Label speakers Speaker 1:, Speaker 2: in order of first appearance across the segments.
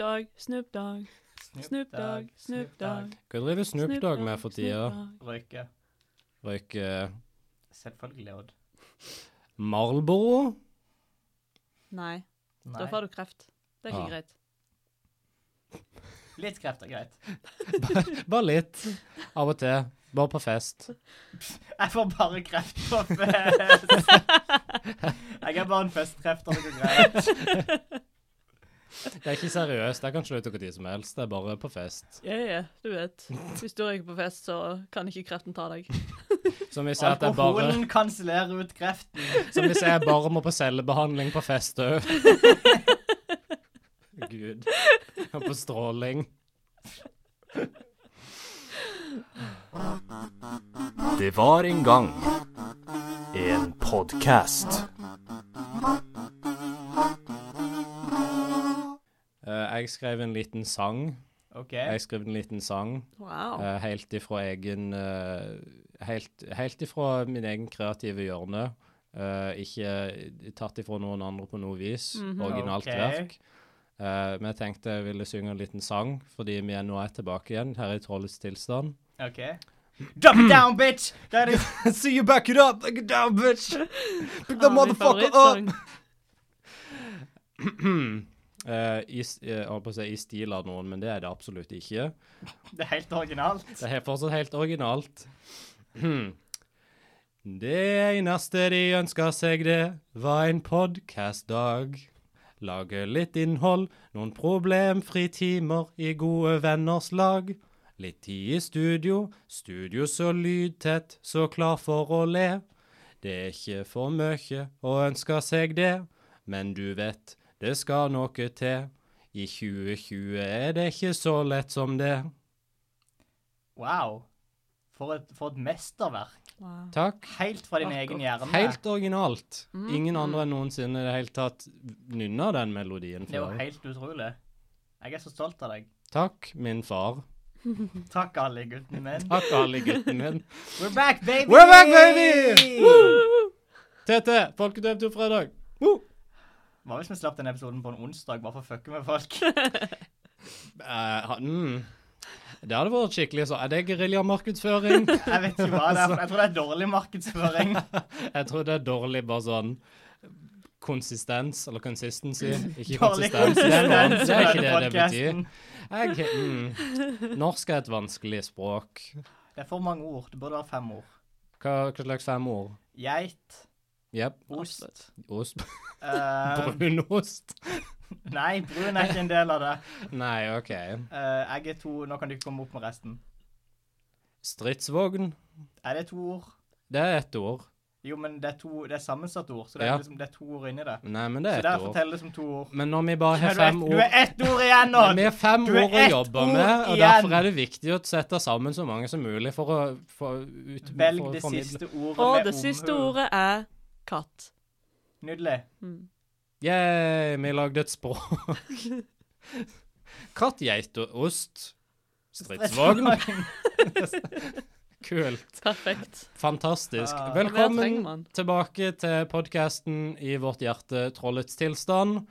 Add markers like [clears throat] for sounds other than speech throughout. Speaker 1: Dogg, Snoop Dogg, Snoop Dogg, Snoop Dogg.
Speaker 2: Hva driver Snoop Dogg med for eh, tida?
Speaker 3: Røyke.
Speaker 2: Røyker
Speaker 3: Selvfølgelig Odd.
Speaker 2: Marlboro?
Speaker 1: Nei, da
Speaker 3: Nei.
Speaker 1: får du kreft. Det er ikke
Speaker 2: Ah. [laughs]
Speaker 1: greit.
Speaker 3: Litt kreft er greit.
Speaker 2: Bare litt. Av og til. Bare på fest.
Speaker 3: Jeg får bare kreft på fest. Jeg er bare en festkreft og
Speaker 1: [laughs]
Speaker 3: noe greit.
Speaker 2: Det er ikke seriøst. Det kan slutte hvor tid som helst. Det er bare på fest.
Speaker 1: Ja, ja, du vet. Hvis du røyker på fest, så kan ikke kreften ta deg.
Speaker 2: Som vi ser at det er bare
Speaker 3: Alkoholen kansellerer ut kreften.
Speaker 2: Som vi ser bare må på cellebehandling på fest òg. Gud. Og på stråling.
Speaker 4: Det var en gang en podkast.
Speaker 2: Eh, jeg skrev en liten sang.
Speaker 3: OK.
Speaker 2: Jeg skrev en liten sang
Speaker 1: Wow.
Speaker 2: eh, helt ifra egen eh, helt, helt ifra min egen kreative hjørne. Eh, ikke tatt ifra noen andre på noe vis. Originalt
Speaker 3: Ok.
Speaker 2: verk. Eh, men jeg tenkte jeg ville synge en liten sang, fordi vi er nå er tilbake igjen her i trollets tilstand.
Speaker 3: ok. Dump it down, bitch! Det er liksom- det
Speaker 2: [laughs] See you back it up, like a down bitch. Pick
Speaker 1: Ah, min favorittsang.
Speaker 2: Eh, i, s- eh, jeg holdt på å si i stil av noen, men det er det absolutt ikke.
Speaker 3: Det er helt originalt.
Speaker 2: Det er helt- fortsatt helt originalt. [clears throat] Det eneste de ønska seg, det var en podkastdag. Lage litt innhold, noen problemfri timer i gode venners lag. Litt tid i studio, studio så lydtett, så klar for å le. Det er ikke for mye å ønske seg det, men du vet, det skal noe til. I 2020 er det ikke så lett som det.
Speaker 3: Wow. For et, for et mesterverk.
Speaker 1: Wow.
Speaker 2: Takk.
Speaker 3: Helt fra din egen hjerne.
Speaker 2: Helt originalt.
Speaker 3: Mm.
Speaker 2: Ingen andre enn noensinne i det hele tatt nynna den melodien
Speaker 3: Det er jo
Speaker 2: før.
Speaker 3: helt utrolig. Jeg er så stolt av deg.
Speaker 2: Takk, min far.
Speaker 3: Takk, alle guttene mine.
Speaker 2: Takk, alle
Speaker 3: [laughs]
Speaker 2: gutten min.
Speaker 3: We're back, baby!
Speaker 2: We're back, baby! Tete, Folketevtur-fredag. Woo!
Speaker 3: Hva hvis vi slapp den episoden på en onsdag, bare for å fucke med folk?
Speaker 1: [laughs]
Speaker 2: Eh, ha- mm. Det hadde vært skikkelig så. Er det
Speaker 3: [laughs]
Speaker 2: geriljamarkedsføring?
Speaker 3: Jeg vet ikke hva det er, for jeg tror det er dårlig
Speaker 2: [laughs]
Speaker 3: markedsføring.
Speaker 2: Jeg tror det er dårlig bare sånn konsistens, eller
Speaker 3: [laughs]
Speaker 2: consistency. Ikke
Speaker 3: Dårlig
Speaker 2: konsistens. Det er, noe annet. det er ikke
Speaker 3: på
Speaker 2: det det betyr.
Speaker 3: podcasten.
Speaker 2: Jeg, mm. Norsk er et vanskelig språk.
Speaker 3: Det er for mange ord. Det burde være fem ord.
Speaker 2: Hva, hva slags fem ord?
Speaker 3: Geit,
Speaker 2: Jepp.
Speaker 3: ost
Speaker 2: Ost. [laughs]
Speaker 3: eh,
Speaker 2: Brunost?
Speaker 3: Nei, brun er ikke en del av det.
Speaker 2: Nei, OK.
Speaker 3: Eh, jeg er to Nå kan du ikke komme opp med resten.
Speaker 2: Stridsvogn?
Speaker 3: Er det to ord?
Speaker 2: Det er ett ord.
Speaker 3: Jo, men det er to Det er sammensatte ord, så det er,
Speaker 2: Ja.
Speaker 3: liksom, det er to ord inni det.
Speaker 2: Nei, men det
Speaker 3: Så
Speaker 2: er
Speaker 3: der
Speaker 2: ett ord.
Speaker 3: forteller det som to ord.
Speaker 2: Men når vi bare
Speaker 3: Men
Speaker 2: har
Speaker 3: du er,
Speaker 2: fem
Speaker 3: du
Speaker 2: ord
Speaker 3: er ett ord igjen nå!
Speaker 2: Vi har fem
Speaker 3: Du er
Speaker 2: ord å
Speaker 3: ett
Speaker 2: jobbe
Speaker 3: ord
Speaker 2: med, og
Speaker 3: igjen!
Speaker 2: derfor er det viktig å sette sammen så mange som mulig for å få ut
Speaker 3: Velg
Speaker 2: for å
Speaker 3: det
Speaker 2: formidle.
Speaker 3: siste ordet
Speaker 1: Og
Speaker 3: med
Speaker 1: det siste
Speaker 3: omhu.
Speaker 1: ordet er katt. Hmm.
Speaker 3: Nydelig.
Speaker 2: Yeah, vi lagde et språk.
Speaker 3: [laughs]
Speaker 2: Katt, geit og ost. Stridsvogn. Kult.
Speaker 1: Perfekt.
Speaker 2: Fantastisk.
Speaker 3: Ah.
Speaker 1: Hva mer trenger man?
Speaker 2: Velkommen tilbake til podkasten I vårt hjerte, trollets tilstand.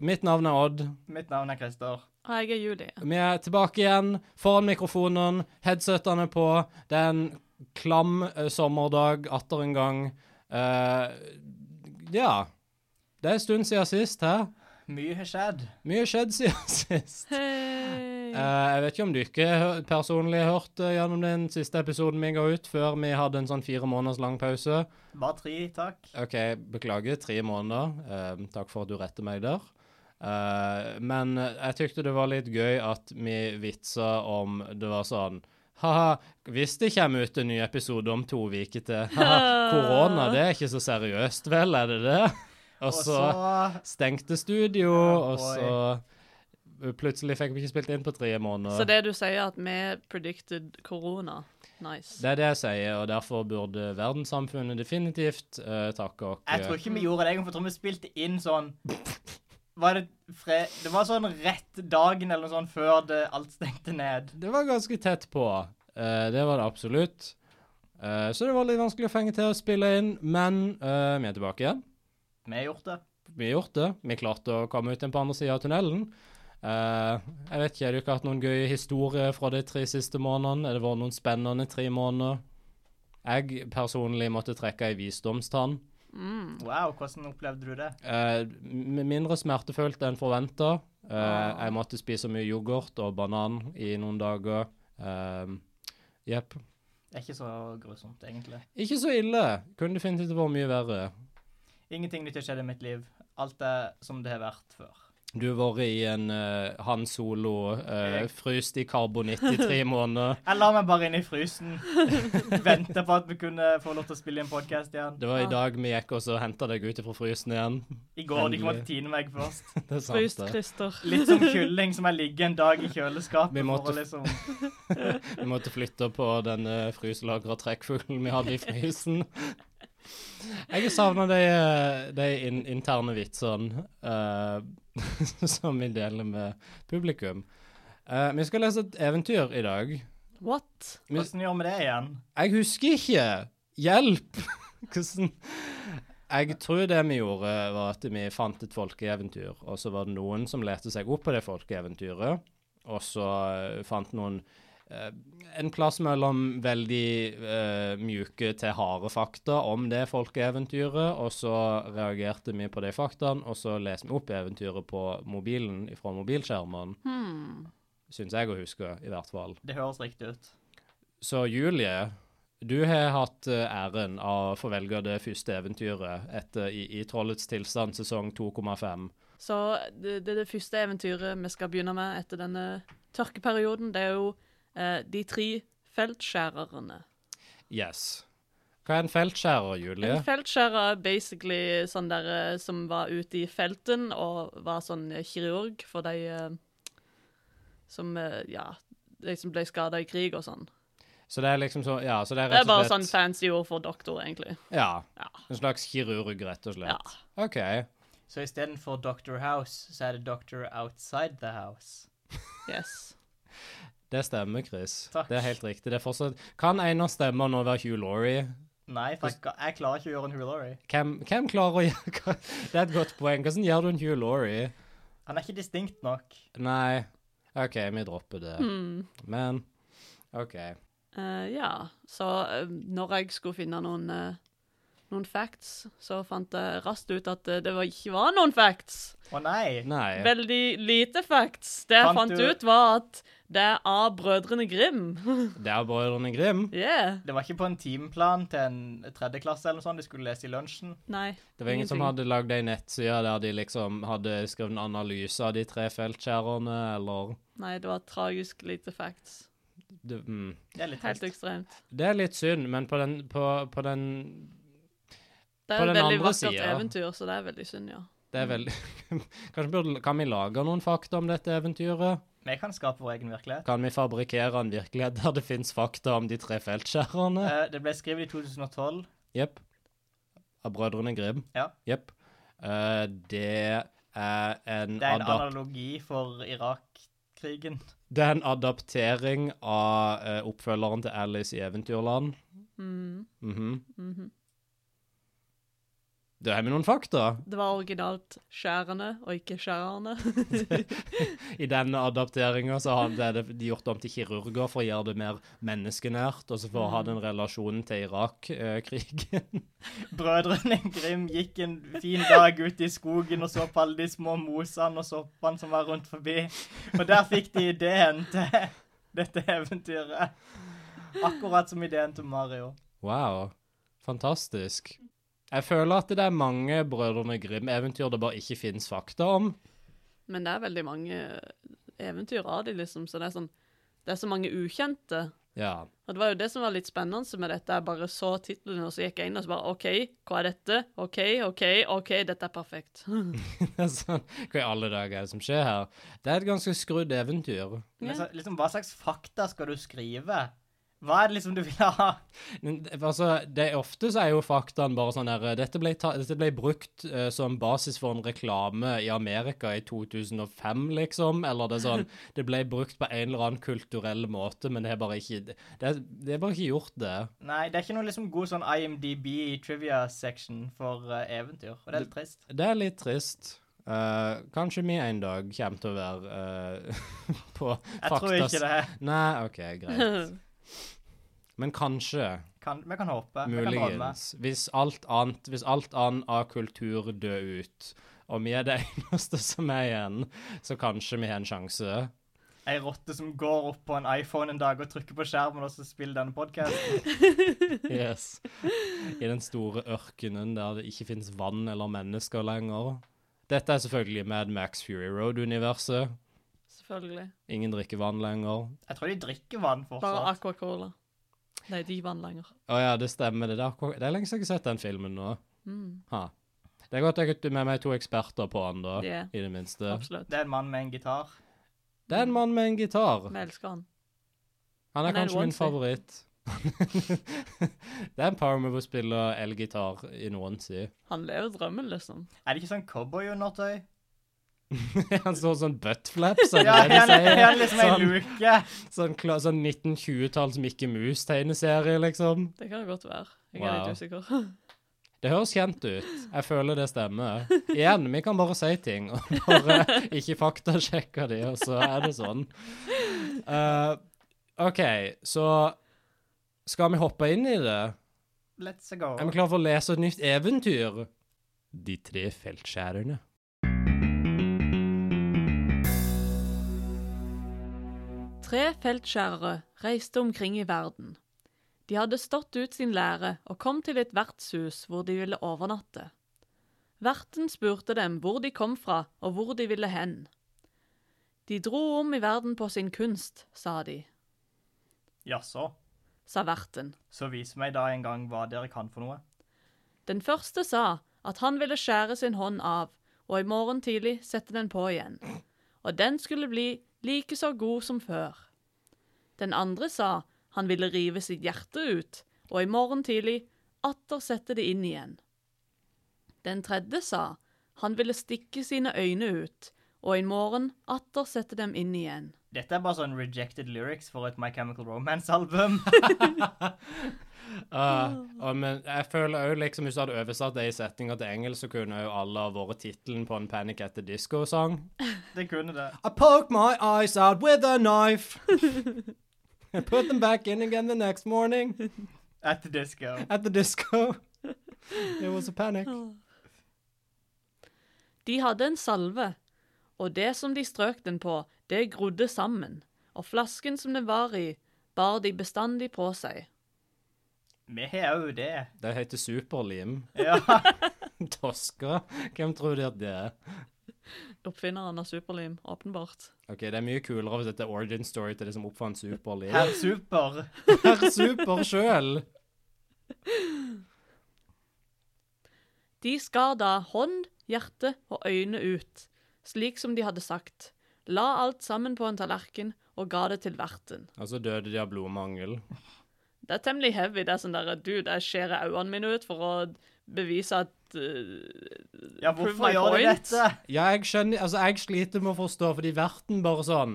Speaker 2: Mitt navn er Odd.
Speaker 3: Mitt navn er Christer.
Speaker 1: Og Ah, jeg er Julie.
Speaker 2: Vi er tilbake igjen foran mikrofonen, headsetene på. Det er en klam eh, sommerdag atter en gang. Eh, ja. Det er en stund siden sist, hæ?
Speaker 3: Mye har skjedd.
Speaker 2: Mye skjedd siden [laughs] sist.
Speaker 1: Hei.
Speaker 2: Eh, jeg vet ikke om du ikke hø- personlig har hørt eh, gjennom den siste episoden vi ga ut, før vi hadde en sånn fire måneders lang pause.
Speaker 3: Bare tre, takk.
Speaker 2: OK, beklager. Tre måneder. Eh, takk for at du retter meg der. Eh, men jeg tykte det var litt gøy at vi vitsa om det var sånn Ha-ha, hvis det kommer ut en ny episode om to uker til Ha-ha, korona, det er ikke så seriøst, vel? Er det det? Og så stengte studio,
Speaker 3: Ja,
Speaker 2: og så Plutselig fikk vi ikke spilt inn på tre måneder.
Speaker 1: Så det du sier, at vi predicted korona. Nice.
Speaker 2: Det er det jeg sier, og derfor burde verdenssamfunnet definitivt eh, takke oss.
Speaker 3: Jeg tror ikke vi gjorde det engang, for jeg tror vi spilte inn sånn Var det fre... Det var sånn rett dagen eller noe sånt før det alt stengte ned.
Speaker 2: Det var ganske tett på. Eh, det var det absolutt. Eh, så det var litt vanskelig å fenge til å spille inn, men eh, vi er tilbake igjen.
Speaker 3: Vi har gjort det.
Speaker 2: Vi har gjort det. Vi klarte å komme ut igjen på andre sida av tunnelen. Eh, jeg vet ikke, har dere hatt noen gøye historier fra de tre siste månedene? Har det vært noen spennende tre måneder? Jeg personlig måtte trekke ei visdomstann.
Speaker 1: Hmm.
Speaker 3: Wow, hvordan opplevde du det?
Speaker 2: Eh, m- mindre smertefullt enn forventa. Eh, Jeg måtte spise mye yoghurt og banan i noen dager. Eh, Jepp.
Speaker 3: Det er ikke så grusomt, egentlig.
Speaker 2: ikke så ille. Kunne definitivt vært mye verre.
Speaker 3: Ingenting nytt har skjedd i mitt liv. Alt er som det har vært før.
Speaker 2: Du har vært i en eh, Han Solo, eh,
Speaker 3: Jeg-
Speaker 2: fryst i karbonitt i tre måneder.
Speaker 3: Jeg la meg bare inn i frysen. Venta på at vi kunne få lov til å spille inn podkast igjen.
Speaker 2: Det var i dag vi gikk og så henta deg ut fra frysen igjen. [laughs]
Speaker 3: I går de kom
Speaker 2: Endelig.
Speaker 3: og tine meg først.
Speaker 2: Det er sant,
Speaker 1: Fryst
Speaker 2: det.
Speaker 1: Christer.
Speaker 3: Litt som kylling som jeg ligger en dag i kjøleskapet
Speaker 2: Vi måtte
Speaker 3: for å liksom
Speaker 2: Vi måtte flytte på den uh, fryselagra trekkfuglen vi hadde i frysen. [laughs] Jeg savna de, eh, de in interne vitsene eh, [laughs] som vi deler med publikum. Eh, vi skal lese et eventyr i dag.
Speaker 1: What?
Speaker 3: Hvordan gjør vi det igjen?
Speaker 2: Jeg husker ikke! Hjelp! [laughs] Hvordan Jeg tror det vi gjorde, var at vi fant et folkeeventyr, og så var det noen som leste seg opp på det folkeeventyret, og så eh, fant noen eh, en plass mellom veldig eh, mjuke til harde fakta om det folkeeventyret, og så reagerte vi på de faktaene, og så leste vi opp eventyret på mobilen fra mobilskjermen. Syns jeg å huske, i hvert fall.
Speaker 3: Det høres riktig ut.
Speaker 2: Så Julie, du har hatt eh, æren av å få velge det første eventyret etter I, i Trollets tilstand sesong 2,5.
Speaker 1: Så det, det er det første eventyret vi skal begynne med etter denne tørkeperioden. Det er jo eh, de tre feltskjærerne.
Speaker 2: Yes. Hva er en feltskjærer, Julie?
Speaker 1: En feltskjærer er basically sånn der eh, som var ute i felten og var sånn eh, kirurg for de eh, som eh, ja, de som ble skada i krig og sånn.
Speaker 2: Så det er liksom så Ja, så det er
Speaker 1: Det er
Speaker 2: rett og
Speaker 1: bare
Speaker 2: slett
Speaker 1: sånn fancy ord for doktor, egentlig.
Speaker 2: Ja.
Speaker 1: Ja.
Speaker 2: En slags kirurg, rett og
Speaker 1: ja.
Speaker 2: slett. OK.
Speaker 3: Så istedenfor Doctor House, så er det Doctor Outside the House.
Speaker 1: Yes.
Speaker 2: Det stemmer, Chris.
Speaker 3: Takk.
Speaker 2: Det er helt riktig. Det er fortsatt Kan en av stemmene nå være Hugh Laurie?
Speaker 3: Nei, fuck, jeg klarer ikke å gjøre en Hulori.
Speaker 2: Hvem, hvem klarer å [laughs] gjøre hva- Det er et godt poeng. Hvordan gjør du en Hugh Laurie?
Speaker 3: Han er ikke distinkt nok.
Speaker 2: Nei. OK, vi dropper det.
Speaker 1: Mm.
Speaker 2: Men OK.
Speaker 1: Eh, ja, så eh, når jeg skulle finne noen, eh, noen facts, så fant jeg raskt ut at eh, det var, ikke var noen facts.
Speaker 3: Å nei.
Speaker 2: Nei.
Speaker 1: Veldig lite facts. Det jeg
Speaker 3: Fant
Speaker 1: fant
Speaker 3: du-
Speaker 1: ut, var at det er av Brødrene Grim.
Speaker 2: Det er Brødrene Grim.
Speaker 1: [laughs] yeah.
Speaker 3: Det var ikke på en timeplan til en tredjeklasse eller noe sånt. De skulle lese i lunsjen.
Speaker 1: Nei.
Speaker 2: Det var ingen som hadde lagd ei nettside der de liksom hadde skrevet en analyse av de tre feltskjærerne, eller
Speaker 1: Nei, det var tragisk lite facts.
Speaker 2: det, mm.
Speaker 3: Det er litt
Speaker 1: Helt
Speaker 3: trist.
Speaker 1: ekstremt.
Speaker 2: det er litt synd, men på den, på, på den
Speaker 1: Det
Speaker 2: På
Speaker 1: er et
Speaker 2: den
Speaker 1: veldig
Speaker 2: andre
Speaker 1: vakkert
Speaker 2: siden-
Speaker 1: eventyr, så det er veldig synd, ja.
Speaker 2: Det er veldig [laughs] Kanskje burde, Kan vi lage noen fakta om dette eventyret?
Speaker 3: Vi kan skape vår egen virkelighet.
Speaker 2: Kan vi fabrikkere en virkelighet der det fins fakta om de tre feltskjærerne?
Speaker 3: Eh, det ble skrevet i 2012.
Speaker 2: Jepp. Av Brødrene Grim?
Speaker 3: Ja.
Speaker 2: Jepp. Eh, det er en
Speaker 3: Det er en
Speaker 2: adap-
Speaker 3: analogi for Irak-krigen.
Speaker 2: Det er en adaptering av eh, oppfølgeren til Alice i Eventyrland.
Speaker 1: Mm.
Speaker 2: Mhm.
Speaker 1: mhm.
Speaker 2: Da har vi noen fakta
Speaker 1: Det var originalt skjærende og ikke skjærerne.
Speaker 2: i denne adapteringa. Så har det det de gjort om til kirurger for å gjøre det mer menneskenært, og så for å ha den relasjonen til Irak-krigen. [laughs]
Speaker 3: Brødrene Grim gikk en fin dag ut i skogen og så på alle de små mosene og soppene som var rundt forbi. Og der fikk de ideen til dette eventyret. Akkurat som ideen til Mario.
Speaker 2: Wow. Fantastisk. Jeg føler at det er mange Brødrene Grim-eventyr det bare ikke fins fakta om.
Speaker 1: [laughs] Men det er veldig mange eh, eventyr av de, liksom, så det er sånn Det er så mange ukjente.
Speaker 2: Ja. [laughs]
Speaker 1: Og det var jo det som var litt spennende med dette. Jeg bare så titlene, og så gikk jeg inn og så bare OK, hva er dette? OK, OK, OK, dette er perfekt.
Speaker 2: Det er sånn, Hva i alle dager er det som skjer her? Det er et ganske skrudd eventyr.
Speaker 3: Men
Speaker 1: Ja.
Speaker 3: så, liksom, hva slags fakta skal du skrive? Hva er det liksom du vil ha?
Speaker 2: Men, Altså, det, ofte så er jo faktaen bare sånn der Dette ble, ta, dette ble brukt eh, som basis for en reklame i Amerika i 2005, liksom. Eller det
Speaker 3: [laughs]
Speaker 2: er sånn Det ble brukt på en eller annen kulturell måte, men det er bare ikke Det, er- det er bare ikke gjort, det.
Speaker 3: Nei, det er ikke noe liksom god sånn IMDb trivia section for eh, eventyr, og det er litt trist.
Speaker 2: Det er litt trist. Eh, kanskje vi en dag kommer til å være eh, [laughs] på
Speaker 3: Jeg tror ikke det.
Speaker 2: Nei, OK, greit. Men kanskje,
Speaker 3: Kan, vi kan håpe. Vi kan drømme.
Speaker 2: muligens. Hvis alt annet hvis alt annet av kultur dør ut, og vi er det [laughs] eneste som er igjen, så kanskje vi har en sjanse.
Speaker 3: Ei rotte som går opp på en iPhone en dag og trykker på skjermen og så spiller denne podkasten.
Speaker 2: Yes. I den store ørkenen der det ikke finnes vann eller mennesker lenger. Dette er selvfølgelig Mad Max Fury Road-universet.
Speaker 1: [laughs] Selvfølgelig.
Speaker 2: Ingen drikker vann lenger.
Speaker 3: Jeg tror de drikker vann
Speaker 1: Bare
Speaker 3: fortsatt.
Speaker 1: Aqua Cola. Nei, de vann lenger.
Speaker 2: Å ja, det stemmer. Det, det, er akkurat- det er lenge siden jeg har sett den filmen nå.
Speaker 1: Mm,
Speaker 2: Ha. Det er godt jeg har med meg to eksperter på den, da.
Speaker 1: Yeah.
Speaker 2: I det minste.
Speaker 1: absolutt.
Speaker 3: Det er en mann med en gitar.
Speaker 2: Det er en mann med en gitar.
Speaker 1: Vi elsker han.
Speaker 2: Han
Speaker 1: Han
Speaker 2: er
Speaker 1: er en
Speaker 2: kanskje min
Speaker 1: onesie.
Speaker 2: favoritt. [laughs] det er en power move å spille elgitar i noen tid.
Speaker 1: Han lever drømmen, liksom.
Speaker 3: Er det ikke sånn cowboyundertøy?
Speaker 2: [laughs] Han står sånn buttflaps, er det
Speaker 3: Ja,
Speaker 2: det
Speaker 3: han
Speaker 2: de sier?
Speaker 3: er liksom ei
Speaker 2: Sånn.
Speaker 3: luke.
Speaker 2: Sånn, kla- sånn 1920-talls Mickey Mouse-tegneserie, liksom.
Speaker 1: Det kan det godt være. Jeg er
Speaker 2: Wow.
Speaker 1: litt usikker.
Speaker 2: Det høres kjent ut. Jeg føler det stemmer. Igjen, vi kan bare si ting, og [laughs] bare ikke faktasjekke de, og så er det sånn. Eh, OK, så skal vi hoppe inn i det?
Speaker 3: Let's go.
Speaker 2: Er vi klare for å lese et nytt eventyr? De tre feltskjærerne.
Speaker 1: Tre feltskjærere reiste omkring i verden. De hadde stått ut sin lære og kom til et vertshus hvor de ville overnatte. Verten spurte dem hvor de kom fra og hvor de ville hen. De dro om i verden på sin kunst, sa de,
Speaker 3: Jaså.
Speaker 1: sa verten.
Speaker 3: Så vis meg da en gang hva dere kan for noe.
Speaker 1: Den første sa at han ville skjære sin hånd av, og i morgen tidlig sette den på igjen. Og den skulle bli like så god som før. Den andre sa han ville rive sitt hjerte ut, og i morgen tidlig atter sette det inn igjen. Den tredje sa han ville stikke sine øyne ut, og i morgen atter sette dem inn igjen.
Speaker 3: Dette er bare sånn rejected lyrics for et My Chemical
Speaker 2: [laughs]
Speaker 3: Romance-album.
Speaker 2: og men jeg føler òg liksom, hvis du hadde oversatt det i setninger til engelsk, så kunne jo alle ha vært tittelen på en Panic at the Disco-sang.
Speaker 3: Det kunne det.
Speaker 2: I poke my eyes out with a knife. and put them back in again the next morning
Speaker 3: At the disco.
Speaker 2: at the disco. It was a panic.
Speaker 1: De hadde en salve, og det som de strøk den på, det grodde sammen, og flasken som den var i, bar de bestandig på seg.
Speaker 3: Vi har jo
Speaker 2: [laughs]
Speaker 3: det.
Speaker 2: Det heter superlim.
Speaker 3: Ja.
Speaker 2: Tosker. Hvem tror de at det er?
Speaker 1: Oppfinneren av superlim, åpenbart.
Speaker 2: Ok, Det er mye kulere hvis dette er origin story til det som oppfant superlim.
Speaker 3: Herr Super.
Speaker 2: Herr Super sjøl!
Speaker 1: De skar da hånd, hjerte og øyne ut, slik som de hadde sagt, la alt sammen på en tallerken og ga det til verten.
Speaker 2: Og så døde de av blodmangel.
Speaker 1: Det er temmelig heavy, det er sånn derre Dude, jeg skjærer øynene mine ut for å bevise at eh,
Speaker 3: Ja,
Speaker 1: prove
Speaker 3: hvorfor
Speaker 1: my
Speaker 3: gjør de
Speaker 1: point.
Speaker 3: dette?
Speaker 2: Ja, jeg skjønner Altså, jeg sliter med å forstå, fordi verten bare sånn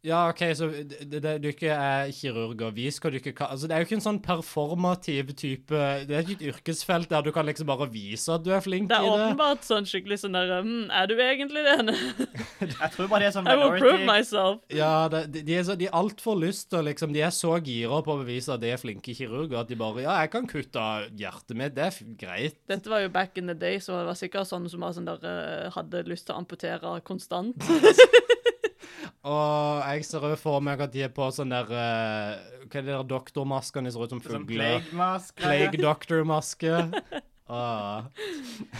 Speaker 2: Ja, OK, så d- d- d- dere er kirurger. Vi skal dere ka... Altså, det er jo ikke en sånn performativ type Det er ikke et yrkesfelt der du kan liksom bare vise at du er flink
Speaker 1: Det er
Speaker 2: i det.
Speaker 1: åpenbart sånn skikkelig sånn derre hm, Er du egentlig det?
Speaker 3: Jeg tror bare det
Speaker 1: [laughs]
Speaker 3: er sånn
Speaker 1: I will prove
Speaker 3: minority.
Speaker 1: myself.
Speaker 2: Ja, det, de- de er, så- de er altfor lyst til å liksom De er så gira på å bevise at de er flinke kirurger at de bare Ja, jeg kan kutte av hjertet mitt. Det er f greit.
Speaker 1: Dette var jo back in the day, så det var sikkert sånne som var sånn der, eh, hadde lyst til å amputere konstant.
Speaker 2: Og jeg ser jo for meg at de er på sånn der eh, Hva er det der doktormaskene ser ut som
Speaker 3: Sånn
Speaker 2: fugler?
Speaker 3: plague mask.
Speaker 2: Plague doctor-maske. [laughs] Ah.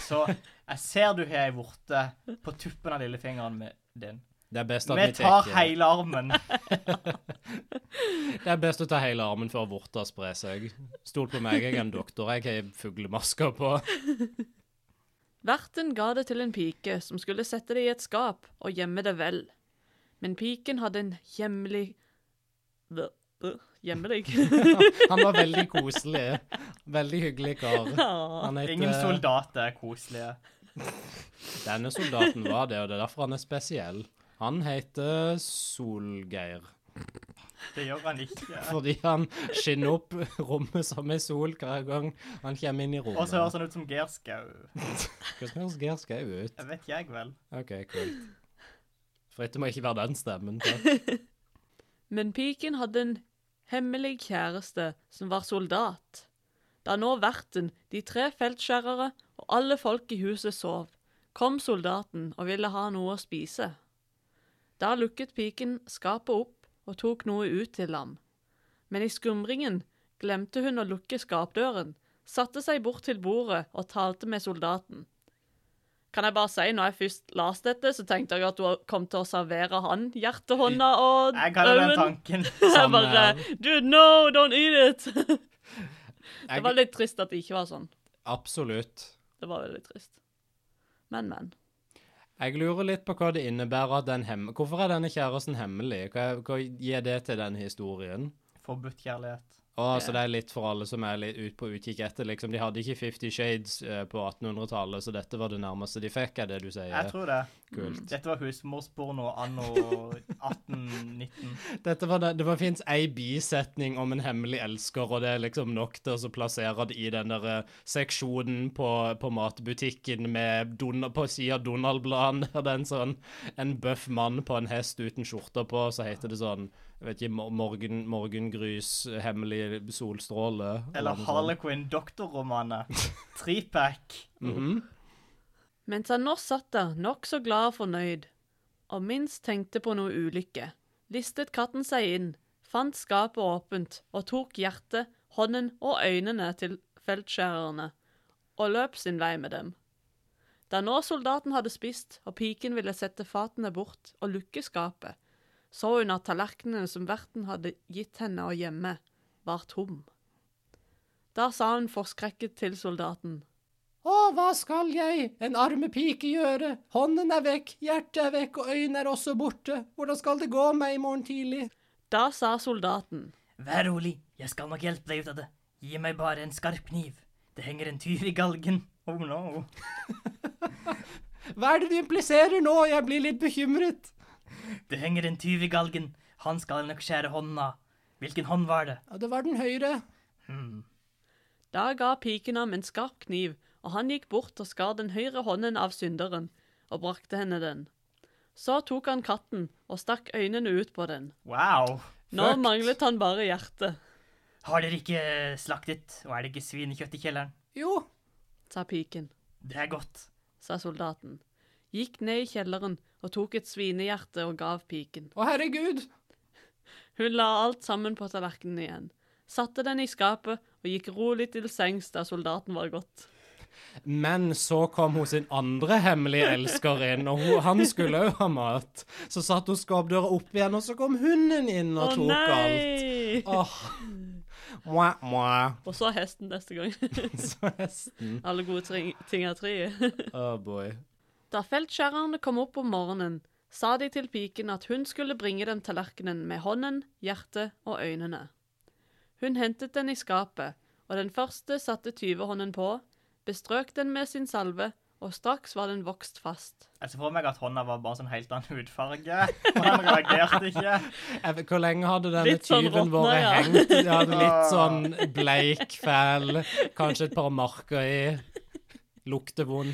Speaker 3: Så jeg ser du har ei vorte på tuppen av lillefingeren min- din.
Speaker 2: Det er best at vi
Speaker 3: Vi tar
Speaker 2: tar
Speaker 3: hele armen.
Speaker 2: Det er best å ta hele armen før vorta sprer seg. Stol på meg, jeg er en doktor. Jeg har fuglemasker på.
Speaker 1: Verten ga det til en pike som skulle sette det i et skap og gjemme det vel. Men piken hadde en hjemlig Bø, bø, [laughs] Hjemmelig.
Speaker 2: Han var veldig koselig. Veldig hyggelig kar. Han
Speaker 3: Ingen
Speaker 2: heter
Speaker 3: soldater er koselige.
Speaker 2: Denne soldaten var det, og det er derfor han er spesiell. Han heter Solgeir.
Speaker 3: Det gjør han ikke.
Speaker 2: Fordi han skinner opp rommet som en sol hver gang han kommer inn i
Speaker 3: Og så høres
Speaker 2: rommet.
Speaker 3: han ut som Gerskau.
Speaker 2: Hvordan høres Geir Skau ut?
Speaker 3: Jeg vet jeg vel.
Speaker 2: OK, kult. For dette må ikke være den stemmen. sant?
Speaker 1: Men piken hadde en hemmelig kjæreste som var soldat. Da nå verten, de tre feltskjærere og alle folk i huset sov, kom soldaten og ville ha noe å spise. Da lukket piken skapet opp og tok noe ut til ham. Men i skumringen glemte hun å lukke skapdøren, satte seg bort til bordet og talte med soldaten. Kan jeg bare si, når jeg først las dette, så tenkte jeg at du kom til å servere han hjertehånda og
Speaker 3: Jeg hadde den
Speaker 1: øynene.
Speaker 3: tanken. [laughs]
Speaker 1: Jeg
Speaker 2: Samme
Speaker 1: bare
Speaker 2: her.
Speaker 1: Dude, no, don't eat it! Det var
Speaker 2: Jeg,
Speaker 1: litt trist at det ikke var sånn.
Speaker 2: absolutt.
Speaker 1: Det var veldig trist. Men, men.
Speaker 2: Jeg lurer litt på hva det innebærer at den hem... Hvorfor er denne kjæresten hemmelig? Hva, hva gir det til den historien?
Speaker 3: Forbudt kjærlighet.
Speaker 2: Å, så det er litt for alle som er litt ut på utkikk etter, liksom. De hadde ikke Fifty Shades eh, på 1800-tallet, så dette var det nærmeste de fikk, er det du sier?
Speaker 3: Jeg tror det. Mm.
Speaker 2: Kult.
Speaker 3: Dette var husmorsporno anno 1819.
Speaker 2: Dette var det, det var- finnes ei bisetning om en hemmelig elsker, og det er liksom nok til å så plassere det i den der eh, seksjonen på, på matbutikken med Don- på sida av [laughs] Donald-bladet, der det er en sånn en bøff mann på en hest uten skjorte på, så heter det sånn jeg vet ikke, mor- morgen, Morgengrys eh, hemmelig solstråle.
Speaker 3: Eller
Speaker 2: noe sånt.
Speaker 3: Harlequin doktorromaner. Tripack.
Speaker 2: Mhm.
Speaker 1: Mens han nå satt der nokså glad og fornøyd, og minst tenkte på noe ulykke, listet katten seg inn, fant skapet åpent og tok hjertet, hånden og øynene til feltskjærerne og løp sin vei med dem. Da nå soldaten hadde spist og piken ville sette fatene bort og lukke skapet, så hun at tallerkenene som verten hadde gitt henne å gjemme, var tom. Da sa hun forskrekket til soldaten.
Speaker 2: Å, hva skal jeg, en arme pike, gjøre? Hånden er vekk, hjertet er vekk, og øynene er også borte. Hvordan skal det gå meg i morgen tidlig?
Speaker 1: Da sa soldaten.
Speaker 3: Vær rolig, jeg skal nok hjelpe deg ut av det. Gi meg bare en skarp kniv. Det henger en tyv i galgen. Oh no.
Speaker 2: Hva er det du impliserer nå? Jeg blir litt bekymret.
Speaker 3: Det henger en tyv i galgen. Han skal nok skjære hånden av. Hvilken hånd var det? Hmm.
Speaker 2: Ja, det var den høyre.
Speaker 1: Da ga piken ham en skarp kniv, og han gikk bort og skar den høyre hånden av synderen, og brakte henne den. Så tok han katten og stakk øynene ut på den.
Speaker 3: Wow.
Speaker 1: Nå
Speaker 2: Fucked.
Speaker 1: manglet han bare hjertet,
Speaker 3: Har dere ikke eh, slaktet, og er det ikke svinekjøtt i kjelleren?
Speaker 2: Jo.
Speaker 1: sa piken,
Speaker 3: Det er godt.
Speaker 1: sa soldaten. Gikk ned i kjelleren og tok et svinehjerte og gav piken.
Speaker 2: Å, herregud.
Speaker 1: Hun la alt sammen på tallerkenen igjen, satte den i skapet og gikk rolig til sengs da soldaten var gått.
Speaker 2: Men så kom hun sin andre hemmelige elsker inn, og hun, han skulle òg ha mat. Så satt hun skapdøra opp igjen, og så kom hunden inn og
Speaker 1: Å
Speaker 2: tok alt.
Speaker 1: nei!
Speaker 2: Åh. Mwah, mwah.
Speaker 1: Og så hesten neste gang.
Speaker 2: Så hesten.
Speaker 1: Alle gode ting ting er tre.
Speaker 2: Oh boy.
Speaker 1: Da feltskjærerne kom opp om morgenen, sa de til piken at hun skulle bringe dem tallerkenen med hånden, hjertet og øynene. Hun hentet den i skapet, og den første satte tyvehånden på, bestrøk den med sin salve, og straks var den vokst fast.
Speaker 3: Jeg ser for meg at hånda var bare sånn helt annen hudfarge. Og han reagerte ikke.
Speaker 2: Jeg vet- Hvor lenge hadde denne
Speaker 1: Litt sånn
Speaker 2: tyven
Speaker 1: råtna,
Speaker 2: vært
Speaker 1: ja.
Speaker 2: hengt? Det hadde litt sånn bleik, fæl, kanskje et par marker i. Lukter vond.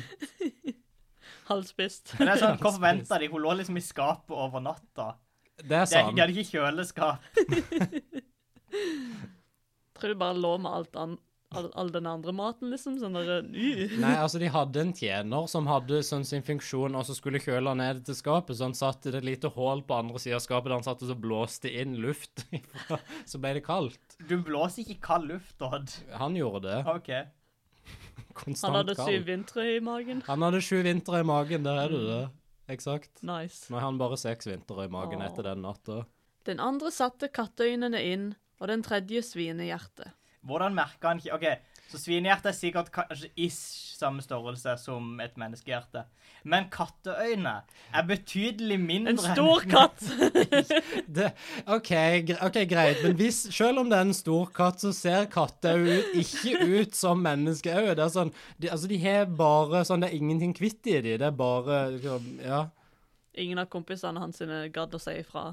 Speaker 1: Halvspist.
Speaker 3: Men det er sånn, Hvorfor venta de? Hun lå liksom i skapet over natta.
Speaker 2: Det er
Speaker 3: Det er,
Speaker 2: sant.
Speaker 3: de hadde ikke kjøleskap.
Speaker 1: [laughs] Tror du bare lå med alt an, all, all den andre maten, liksom? Sånn der, øh.
Speaker 2: Nei, altså de hadde en tjener som hadde sånn sin funksjon, og så skulle kjøle han ned til skapet, så han satt i et lite hål på andre siden av skapet, der han satt og så blåste inn luft. [laughs] ifra. Så ble det kaldt.
Speaker 3: Du blåser ikke kald luft, Odd.
Speaker 2: Han gjorde det.
Speaker 3: OK.
Speaker 2: Konstant
Speaker 1: Han
Speaker 2: kaldt.
Speaker 1: hadde syv vintre i magen.
Speaker 2: Han hadde sju vintre i magen, der er det det. Eksakt.
Speaker 1: Nice.
Speaker 2: Nå har han bare seks vintre i magen
Speaker 1: Mm. Åh.
Speaker 2: etter den natta.
Speaker 1: Den andre satte katteøynene inn, og den tredje svinehjertet.
Speaker 3: Hvordan merka han ikke OK, så svinehjerte er sikkert kanskje ish samme størrelse som et menneskehjerte. Men katteøyne er betydelig mindre
Speaker 1: En stor katt!
Speaker 2: Det, ok, gre ok, greit, men hvis, selv om det er en stor katt, så ser katter jo ut- ikke ut som menneskeøye. Det er sånn, de, altså de har bare sånn, det er ingenting kvitt i de, det er bare, liksom, ja.
Speaker 1: Ingen av kompisene hans sine gadd å si ifra.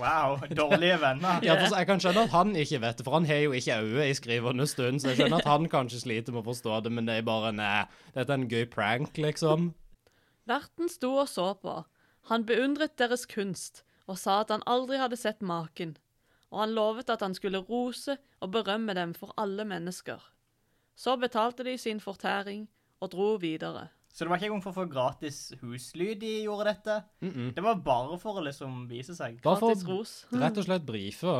Speaker 3: Wow, dårlige venner.
Speaker 2: Ja, for så- Jeg kan skjønne at han ikke vet det, for han har jo ikke øye i skrivende stund, så jeg skjønner at han kanskje sliter med å forstå det, men det er bare Nei, dette er en gøy prank, liksom.
Speaker 1: Verten sto og så på. Han beundret deres kunst og sa at han aldri hadde sett maken, og han lovet at han skulle rose og berømme dem for alle mennesker. Så betalte de sin fortæring og dro videre.
Speaker 3: Så det var ikke engang for å få gratis huslyd de gjorde dette? Det var bare for å liksom vise seg.
Speaker 2: Bare for
Speaker 1: Gratis
Speaker 2: å
Speaker 1: ros.
Speaker 2: rett og slett brife.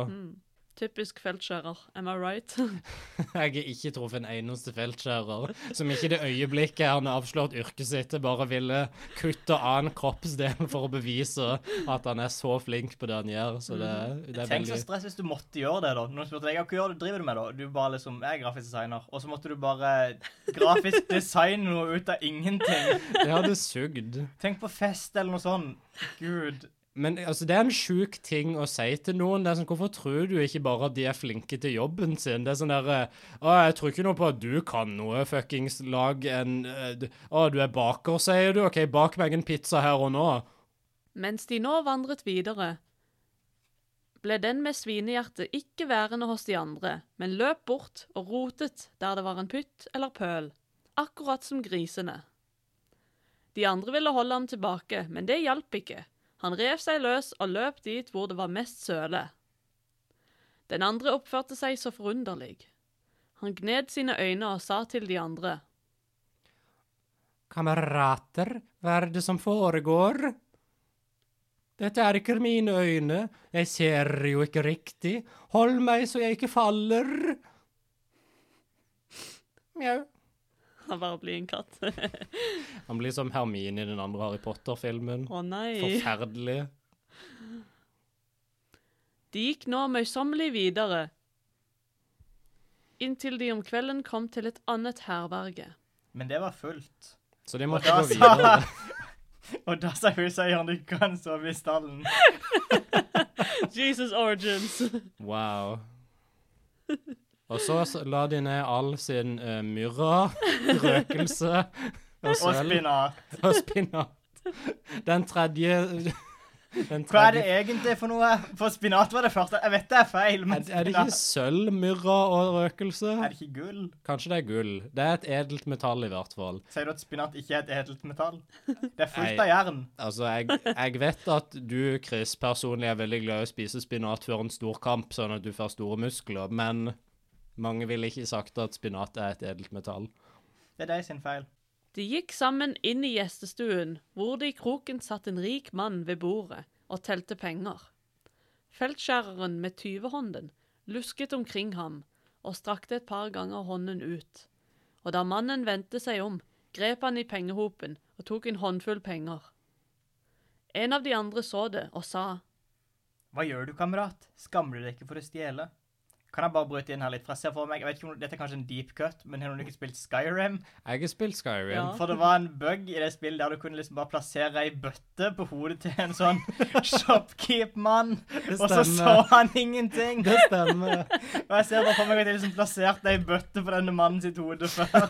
Speaker 1: Typisk feltskjærer, am I right? [laughs]
Speaker 2: Jeg har ikke truffet en eneste feltskjærer som ikke i det øyeblikket han har avslørt yrket sitt, bare ville kutte av en kroppsdel for å bevise at han er så flink på det han gjør. Så det, det er
Speaker 3: Tenk så
Speaker 2: veldig
Speaker 3: stress hvis du måtte gjøre det, da. Noen spurte deg, «Ja, hva gjør du, driver du med, da? Du bare liksom, jeg er grafisk designer. Og så måtte du bare
Speaker 2: [laughs]
Speaker 3: grafisk designe noe ut av ingenting.
Speaker 2: Det hadde sugd.
Speaker 3: Tenk på fest eller noe sånt. Gud.
Speaker 2: Men altså, det er en sjuk ting å si til noen. Det er sånn, Hvorfor tror du ikke bare at de er flinke til jobben sin? Det er sånn derre Å, jeg tror ikke noe på at du kan noe, fuckings lag en eh, d- Å, du er baker, sier du? OK, bak meg en pizza her og nå.
Speaker 1: Mens de nå vandret videre, ble den med svinehjerte ikke værende hos de andre, men løp bort og rotet der det var en pytt eller pøl, akkurat som grisene. De andre ville holde ham tilbake, men det hjalp ikke. Han rev seg løs og løp dit hvor det var mest søle. Den andre oppførte seg så forunderlig. Han gned sine øyne og sa til de andre,
Speaker 2: Kamerater, hva er det som foregår? Dette er ikke mine øyne, jeg ser jo ikke riktig. Hold meg så jeg ikke faller. Mjau.
Speaker 1: [laughs] han bare blir en katt.
Speaker 2: Han blir som Hermine i den andre Harry Potter-filmen.
Speaker 1: [laughs] Å nei.
Speaker 2: Forferdelig.
Speaker 1: De gikk nå møysommelig videre, inntil de om kvelden kom til et annet herberge.
Speaker 3: Men det var fullt.
Speaker 2: Så de
Speaker 3: Og
Speaker 2: måtte
Speaker 3: da
Speaker 2: gå videre.
Speaker 3: sa, [laughs] og da sa huseieren du kan sove i stallen.
Speaker 1: [laughs] Jesus Origins!
Speaker 2: Wow. Og så s- la de ned all sin eh, myrra, røkelse [laughs] og
Speaker 3: Og
Speaker 2: sølv
Speaker 3: spinat.
Speaker 2: [laughs] og spinat. Den tredje den
Speaker 3: Hva er det
Speaker 2: tredje,
Speaker 3: egentlig for noe? For spinat var det første. Jeg vet det er feil, men
Speaker 2: er, er det ikke
Speaker 3: spinat
Speaker 2: sølv, myrra og røkelse?
Speaker 3: Er det ikke gull?
Speaker 2: Kanskje det er gull. Det er et edelt metall i hvert fall.
Speaker 3: Sier du at spinat ikke er et edelt
Speaker 2: [laughs]
Speaker 3: metall? Det er fullt
Speaker 2: Nei.
Speaker 3: av jern.
Speaker 2: Altså, jeg, jeg vet at du, Chris, personlig er veldig glad i å spise spinat før en stor kamp, sånn at du får store muskler, men mange ville ikke sagt at spinat er et edelt metall.
Speaker 3: Det er deg sin feil.
Speaker 1: [laughs] De gikk sammen inn i gjestestuen, hvor det i kroken satt en rik mann ved bordet og telte penger. Feltskjæreren med tyvehånden lusket omkring ham og strakte et par ganger hånden ut. Og da mannen vendte seg om, grep han i pengehopen og tok en håndfull penger. En av de andre så det og sa
Speaker 3: Hva gjør du, kamerat? Skammer du deg ikke for å stjele? Kan jeg bare bryte inn her litt fra se for meg? Jeg vet ikke om Dette er kanskje en deep cut, men har du ikke spilt Skyrim?
Speaker 2: Jeg har spilt Skyrim.
Speaker 1: Ja.
Speaker 3: For det var en bug i det spillet der du kunne liksom bare plassere ei bøtte på hodet til en
Speaker 2: [laughs]
Speaker 3: sånn shopkeep-mann,
Speaker 2: Det
Speaker 3: og så så
Speaker 2: stemmer.
Speaker 3: han ingenting.
Speaker 2: Det stemmer.
Speaker 3: Og jeg ser bare for meg at jeg liksom plasserte ei bøtte på denne mannen sitt hode
Speaker 2: [laughs]
Speaker 3: før.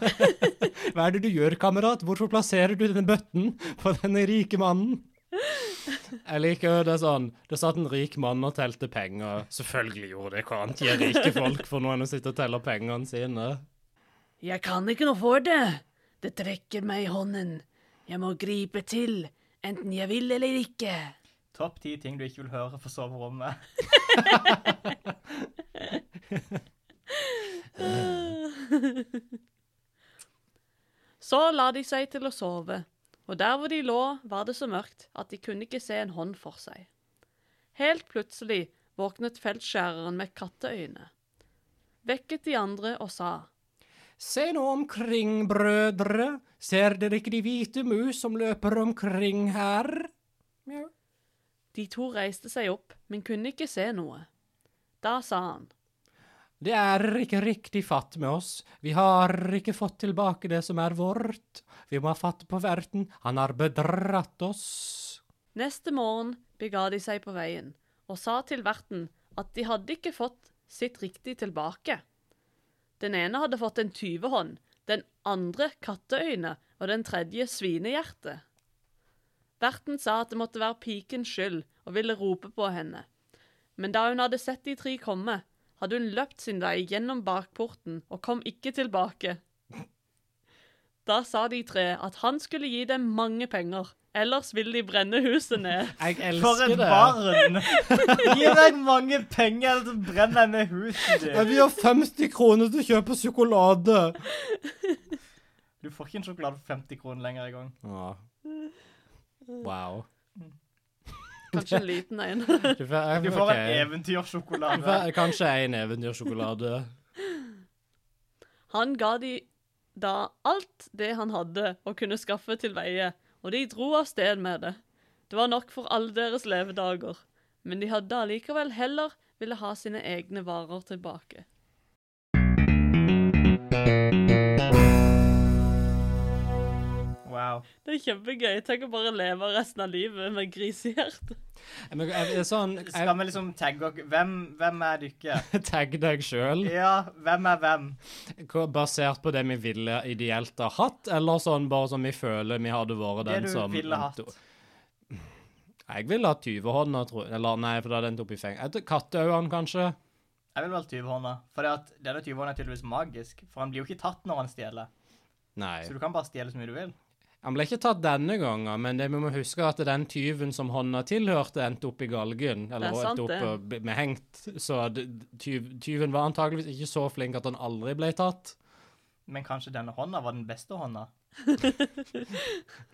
Speaker 2: Hva er det du gjør, kamerat? Hvorfor plasserer du denne bøtten på denne rike mannen? Jeg liker jo det sånn Det satt en rik mann og telte penger. Selvfølgelig gjorde det hva annet gir rike folk for noen å sitte og telle pengene sine.
Speaker 1: Jeg kan ikke noe for det. Det trekker meg i hånden. Jeg må gripe til, enten jeg vil eller ikke.
Speaker 3: Topp ti ting du ikke vil høre på soverommet.
Speaker 1: Så la de seg til å sove, og der hvor de lå, var det så mørkt at de kunne ikke se en hånd for seg. Helt plutselig våknet feltskjæreren med katteøyne, vekket de andre og sa.
Speaker 2: Se nå omkring, brødre. Ser dere ikke de hvite mus som løper omkring her? Mjau.
Speaker 1: De to reiste seg opp, men kunne ikke se noe. Da sa han.
Speaker 2: Det er ikke riktig fatt med oss. Vi har ikke fått tilbake det som er vårt. Vi må ha fatt på verten. Han har bedratt oss.
Speaker 1: Neste morgen bega de seg på veien og sa til verten at de hadde ikke fått sitt riktig tilbake. Den ene hadde fått en tyvehånd, den andre katteøyne og den tredje svinehjerte. Verten sa at det måtte være pikens skyld, og ville rope på henne. Men da hun hadde sett de tre komme, hadde hun løpt sin vei gjennom bakporten og kom ikke tilbake. Da sa de tre at han skulle gi dem mange penger, ellers ville de brenne huset ned.
Speaker 2: Jeg
Speaker 3: For
Speaker 2: elsker
Speaker 3: et
Speaker 2: det.
Speaker 3: barn!
Speaker 2: [laughs]
Speaker 3: Gi meg mange penger, eller så brenner jeg med huset ditt.
Speaker 2: Jeg vil ha 50 kroner til å kjøpe sjokolade.
Speaker 3: Du får ikke en sjokolade for 50 kroner lenger engang.
Speaker 2: Ja. Wow.
Speaker 1: Kanskje en liten en. [laughs]
Speaker 2: Du får,
Speaker 3: Du får en
Speaker 2: ok. Du
Speaker 3: eventyrsjokolade.
Speaker 2: får Kanskje en eventyrsjokolade.
Speaker 1: Han ga de da alt det han hadde og kunne skaffe til veie, og de dro av sted med det. Det var nok for alle deres levedager, men de hadde allikevel heller ville ha sine egne varer tilbake.
Speaker 3: Wow.
Speaker 1: Det er kjempegøy. Tenk å bare leve resten av livet med grisehjerte.
Speaker 2: Men
Speaker 3: eh,
Speaker 2: jeg, jeg, sånn,
Speaker 3: Skal
Speaker 2: jeg
Speaker 3: vi liksom tagge oss Hvem, hvem er dere?
Speaker 2: tagg deg sjøl,
Speaker 3: Ja, hvem er hvem?
Speaker 2: basert på det vi ville ideelt ha hatt, eller sånn bare som vi føler vi hadde vært
Speaker 3: Det
Speaker 2: [laughs] den
Speaker 3: du
Speaker 2: som
Speaker 3: ville hatt.
Speaker 2: Jeg ville hatt tyvehånda, tror jeg. Eller nei, for da hadde den opp i fengsel. Katteøyene, kanskje?
Speaker 3: Jeg vil valgt tyvehånda. For at denne tyvehånda er tydeligvis magisk. For han blir jo ikke tatt når han stjeler.
Speaker 2: Nei.
Speaker 3: Så du kan bare stjele så mye du vil.
Speaker 2: Han ble ikke tatt denne gangen, men det vi må huske er at den tyven som hånda tilhørte, endte opp i galgen. Eller
Speaker 1: Det er sant,
Speaker 2: endte
Speaker 1: det.
Speaker 2: opp eh, med hengt. Så det, tyv, tyven var antageligvis ikke så flink at han aldri ble tatt.
Speaker 3: Men kanskje denne hånda var den beste hånda?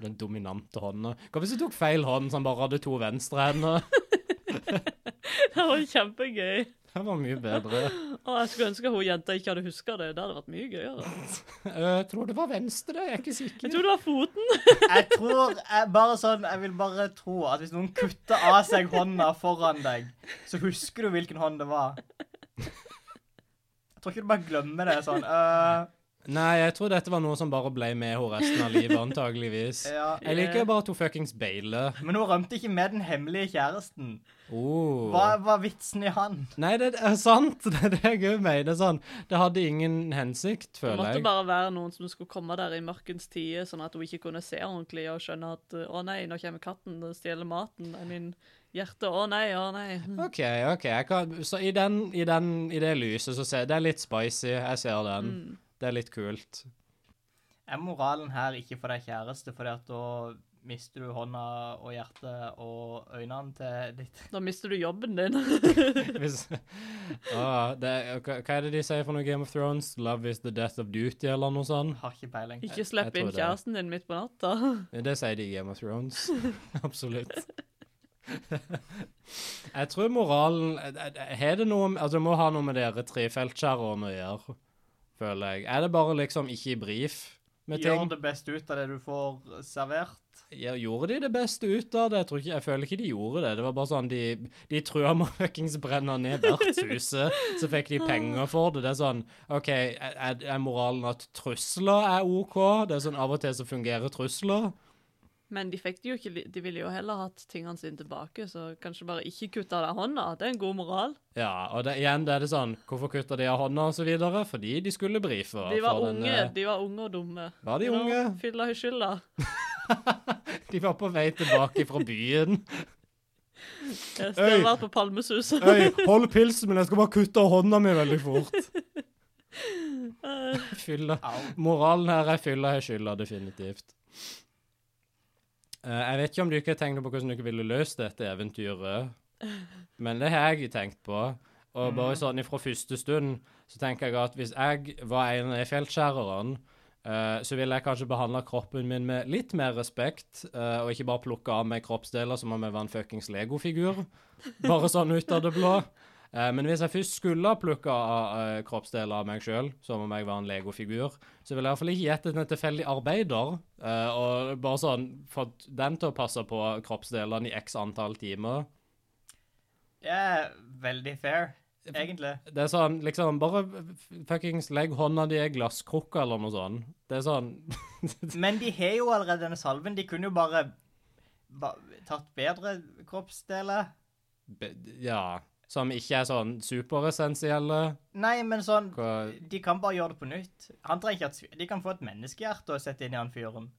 Speaker 2: Den dominante hånda. Hva hvis du tok feil hånd, så han bare hadde to venstrehender?
Speaker 1: [laughs] Det var kjempegøy.
Speaker 2: [laughs] Det var mye bedre.
Speaker 1: Og jeg skulle ønske hun jenta ikke hadde huska det. Det hadde vært mye gøyere.
Speaker 2: Jeg Eh, tror det var venstre, jeg er ikke sikker.
Speaker 1: Jeg tror det var foten.
Speaker 3: Jeg tror jeg, bare sånn, jeg vil bare tro at hvis noen kutter av seg hånda foran deg, så husker du hvilken hånd det var. Jeg tror ikke du bare glemmer det sånn. øh,
Speaker 2: Nei, jeg tror dette var noe som bare ble med henne resten av livet,
Speaker 1: [laughs]
Speaker 2: antageligvis.
Speaker 3: ja.
Speaker 2: Jeg liker bare to fuckings beile.
Speaker 3: Men hun rømte ikke med den hemmelige kjæresten.
Speaker 2: Oh.
Speaker 3: Hva var vitsen i han?
Speaker 2: Nei, det er sant. [laughs] Det er det jeg òg mener. Sånn. Det hadde ingen hensikt,
Speaker 1: Det
Speaker 2: føler
Speaker 1: måtte
Speaker 2: jeg.
Speaker 1: bare være noen som skulle komme der i mørkens tide, sånn at hun ikke kunne se ordentlig og skjønne at uh, 'Å nei, nå kommer katten og stjeler maten'. I min hjerte. 'Å nei, å nei'.
Speaker 2: OK, OK. Jeg kan, så i, den, i, den, i det lyset så ser jeg Det er litt spicy. Jeg ser den.
Speaker 1: Mm.
Speaker 2: Det er litt kult. [laughs]
Speaker 3: Er moralen her ikke for deg kjæreste, fordi at da mister du hånda og hjertet og øynene til ditt
Speaker 1: Da mister du jobben din. [laughs]
Speaker 2: Hvis, [laughs] Åh, det, er- hva, hva er det de sier for noe Game of Thrones? 'Love is the death of duty', eller noe sånt?
Speaker 3: Har ikke peiling.
Speaker 1: ikke
Speaker 2: jeg
Speaker 1: slipp inn
Speaker 2: tror det.
Speaker 1: kjæresten din midt på natta.
Speaker 2: Eh, Det sier de i Game of Thrones. Absolutt. [laughs] jeg tror moralen eh, Har det noe Altså, det må ha noe med dere trefeltskjærerne å gjøre, føler jeg. Er det bare liksom ikke i brief med
Speaker 3: Gjør
Speaker 2: ting?
Speaker 3: det beste ut av det du får servert.
Speaker 2: Ja, gjorde de det beste ut av det? Jeg, tror ikke, jeg føler ikke de gjorde det. Det var bare sånn De, de trua med å fuckings brenne ned vertshuset, så fikk de penger for det. Det er sånn OK, er, er moralen at trusler er OK? Det er sånn Av og til så fungerer trusler.
Speaker 1: Men de fikk det jo ikke li- De ville jo heller hatt tingene sine tilbake, så kanskje bare ikke kutte av deg hånda. Det er en god moral.
Speaker 2: Ja, og det, igjen det er det sånn Hvorfor kutta de av hånda og så videre? Fordi de skulle brife.
Speaker 1: De var
Speaker 2: for den, eh,
Speaker 1: unge, de var unge og dumme.
Speaker 2: Var de
Speaker 1: You know,
Speaker 2: unge?
Speaker 1: Fylla i skylda.
Speaker 2: eh, de var på vei tilbake fra [laughs] byen.
Speaker 1: Jeg skulle
Speaker 2: Øy!
Speaker 1: vært på Palmesuset.
Speaker 2: Øy, hold pilsen min, jeg skal bare kutte av hånda mi veldig fort.
Speaker 1: [laughs]
Speaker 2: Fylla.
Speaker 3: Au.
Speaker 2: Moralen her er fylla har skylda, definitivt. Eh, jeg vet ikke om dere tenkte på hvordan dere ville løst dette eventyret, men det har jeg tenkt på. Og bare sånn ifra første stund så tenker jeg at hvis jeg var en av de feltskjærerne, eh, så ville jeg kanskje behandla kroppen min med litt mer respekt, eh, og ikke bare plukke av meg kroppsdeler som om jeg var en fuckings legofigur. Bare sånn ut av det blå. Eh, men hvis jeg først skulle ha plukka av eh, kroppsdeler av meg sjøl, som om jeg var en legofigur, så ville jeg iallfall ikke gitt en tilfeldig arbeider. eh, og bare sånn fått den til å passe på kroppsdelene i x antall timer.
Speaker 3: Det er veldig fair, egentlig.
Speaker 2: Det er sånn, liksom, bare f- fuckings legg hånda di i ei glasskrukka eller noe sånt. Det er sånn
Speaker 3: [laughs] Men de har jo allerede denne salven. De kunne jo bare ba tatt bedre kroppsdeler.
Speaker 2: b- Ja. Som ikke er sånn superessensielle.
Speaker 3: Nei, men sånn
Speaker 2: Hva
Speaker 3: De kan bare gjøre det på nytt. Han trenger ikke at De kan få et menneskehjerte og sette inn i han fyren.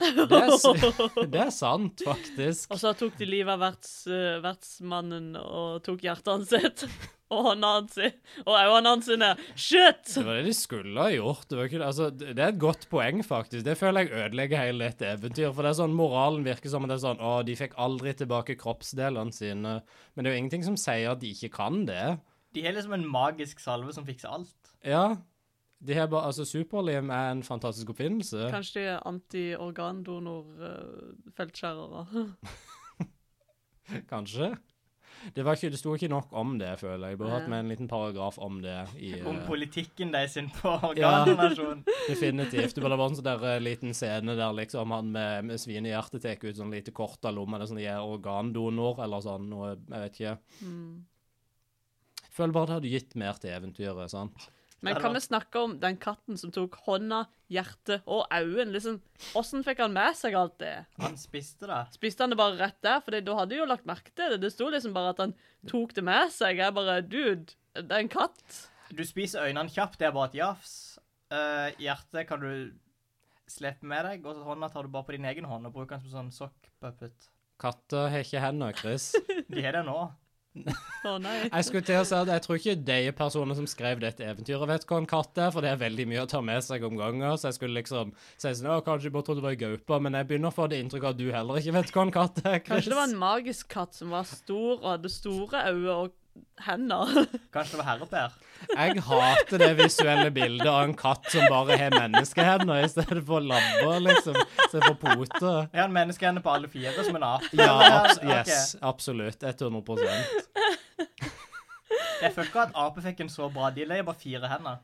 Speaker 2: Det er,
Speaker 1: [laughs]
Speaker 2: s- [laughs] det er sant, faktisk.
Speaker 1: Og så tok de livet av verts, eh, vertsmannen og tok hjertet hans sitt. [laughs] Og hånda hans sin. Og øynene hans sine. Shit!
Speaker 2: Det var det de skulle ha gjort. Det, var ikke, altså, det det er et godt poeng, faktisk. Det føler jeg ødelegger hele dette eventyret. For det er sånn, moralen virker som at det er sånn Å, de fikk aldri tilbake kroppsdelene sine. Men det er jo ingenting som sier at de ikke kan det.
Speaker 3: De har liksom en magisk salve som fikser alt.
Speaker 2: Ja. De har bare, altså, Superlim er en fantastisk oppfinnelse.
Speaker 1: Kanskje eh, de er anti-organdonor-feltskjærere.
Speaker 2: Kanskje. Det, var ikke, det sto ikke nok om det, føler jeg. Burde hatt
Speaker 1: Nei.
Speaker 2: med en liten paragraf om det. I,
Speaker 3: Om
Speaker 2: eh,
Speaker 3: politikken de sin på
Speaker 2: Ja.
Speaker 3: organdonasjon.
Speaker 2: definitivt. Det burde vært en sånn der eh, liten scene der liksom han med, med svinehjertet tar ut sånn lite kort av lomma. Det er sånn de er organdonor eller sånn noe. Jeg vet ikke.
Speaker 1: Mm.
Speaker 2: Føler bare det hadde gitt mer til eventyret. sant?
Speaker 1: [laughs] Men kan vi snakke om den katten som tok hånda, hjertet og øynene? Liksom, Åssen fikk han med seg alt det?
Speaker 3: Han spiste det.
Speaker 1: Spiste han det bare rett der? For da hadde jeg jo lagt merke til det. Det sto liksom bare at han tok det med seg. Jeg bare Dude, det er en katt.
Speaker 3: Du spiser øynene kjapt, det er bare et jafs. Eh, hjertet kan du slippe med deg, og hånda tar du bare på din egen hånd og bruker den som sånn sokkpuppet.
Speaker 2: Katter har ikke hender,
Speaker 1: [laughs]
Speaker 2: Chris.
Speaker 3: De har det nå.
Speaker 1: Å nei.
Speaker 2: Jeg skulle til å si at jeg tror ikke de personene som skrev dette eventyret, vet hva en katt er, for det er veldig mye å ta med seg om ganger. Så jeg skulle liksom si sånn Å, kanskje jeg bare trodde det var ei gaupe, men jeg begynner å få det inntrykket at du heller ikke vet hva en katt er, Chris.
Speaker 1: Kanskje det var en magisk katt som var stor og hadde store øyne og hender. [laughs]
Speaker 3: Kanskje det var herreper.
Speaker 2: Jeg hater det visuelle bildet av en katt som bare har menneskehender i stedet for labber, liksom. I stedet for poter.
Speaker 3: Jeg har en menneskehende på alle fire som en ape.
Speaker 2: [laughs] Ja, abs
Speaker 3: Ok.
Speaker 2: yes, absolutt. 100
Speaker 3: Jeg følte ikke at ape fikk en så bra deal. Jeg har bare fire hender.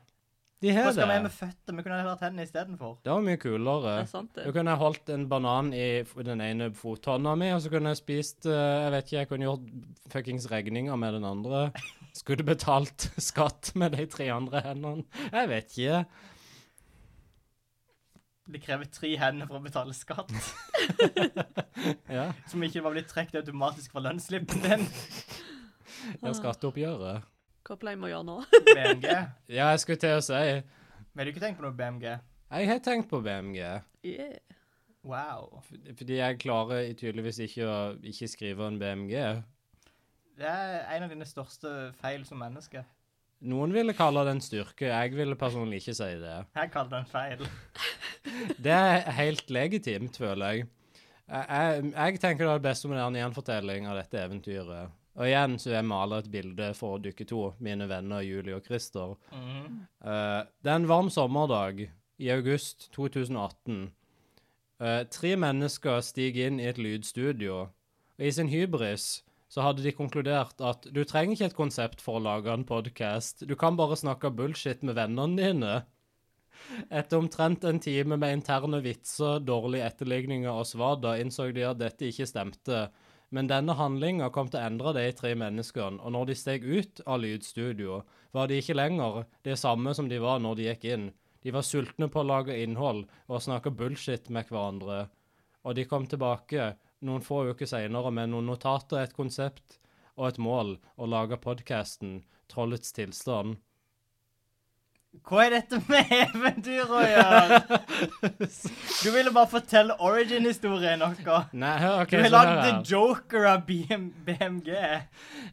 Speaker 2: De
Speaker 3: Hva
Speaker 2: har
Speaker 3: skal vi med
Speaker 2: det.
Speaker 3: føtter? Vi kunne heller hatt hendene istedenfor.
Speaker 2: Det var mye kulere.
Speaker 1: Det er sant, det.
Speaker 2: Da kunne jeg holdt en banan i f- den ene fothånda mi, og så kunne jeg spist eh, Jeg vet ikke, jeg kunne gjort fuckings regninger med den andre. Skulle betalt [laughs] skatt med de tre andre hendene. Jeg vet ikke.
Speaker 3: Det krever tre hender for å betale skatt,
Speaker 2: [laughs] Ja,
Speaker 3: [laughs] som ikke var blitt trukket automatisk fra lønnsslippen
Speaker 2: [laughs]
Speaker 3: din. Ah.
Speaker 2: det er skatteoppgjøret.
Speaker 1: Hva pleier vi å gjøre
Speaker 2: [laughs]
Speaker 1: nå?
Speaker 3: BMG.
Speaker 2: Ja, jeg skulle til å si Jeg
Speaker 3: Men har du ikke tenkt på noe BMG?
Speaker 2: har tenkt på BMG.
Speaker 1: Yeah.
Speaker 3: Wow.
Speaker 2: F- Fordi jeg klarer i- tydeligvis ikke å ikke skrive en BMG.
Speaker 3: Det er en av dine største feil som menneske.
Speaker 2: Noen ville kalle det en styrke. Jeg ville personlig ikke si det.
Speaker 3: Jeg kaller det en feil.
Speaker 2: Det er helt legitimt, føler jeg. Jeg, jeg, jeg tenker det er best om det er en gjenfortelling av dette eventyret. Og igjen så jeg maler et bilde for dere to, mine venner Julie og Christer.
Speaker 3: Mhm.
Speaker 2: Eh, det er en varm sommerdag i august 2018. Eh, tre mennesker stiger inn i et lydstudio, og i sin hybris så hadde de konkludert at du trenger ikke et konsept for å lage en podkast, du kan bare snakke bullshit med vennene dine. Etter omtrent en time med interne vitser, dårlige etterligninger og svada, innså de at dette ikke stemte. Men denne handlinga kom til å endre de tre menneskene, og når de steg ut av lydstudio, var de ikke lenger det samme som de var når de gikk inn. De var sultne på å lage innhold og snakke bullshit med hverandre. Og de kom tilbake noen få uker seinere med noen notater, et konsept og et mål å lage podkasten Trollets tilstand.
Speaker 3: Hva er dette med eventyr å
Speaker 2: [laughs]
Speaker 3: gjøre? Du ville bare fortelle origin-historien noe.
Speaker 2: Nei, hør, OK,
Speaker 3: Du har
Speaker 2: så her
Speaker 3: lagd
Speaker 2: er
Speaker 3: The Joker av BM BMG.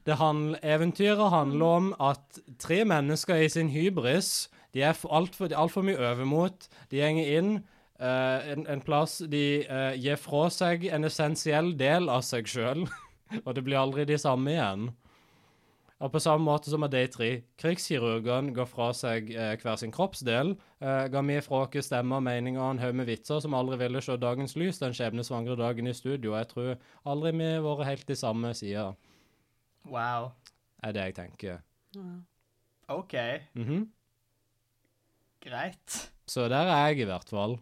Speaker 2: Det handl- eventyret handler om at tre mennesker i sin hybris De er altfor alt for- de er alt for mye overmot. De gjenger inn eh, en, en plass de eh, gir fra seg en essensiell del av seg sjøl, [laughs] og det blir aldri de samme igjen. Og på samme måte som med de tre krigskirurgene ga fra seg eh, hver sin kroppsdel, eh, ga vi fra oss stemmer, meninger og en haug med vitser som aldri ville se dagens lys den skjebnesvangre dagen i studio. Jeg tror aldri vi har vært helt de samme sida,
Speaker 3: Wow.
Speaker 2: er det jeg tenker.
Speaker 3: OK,
Speaker 2: Mhm.
Speaker 3: greit.
Speaker 2: Så der er jeg i hvert fall.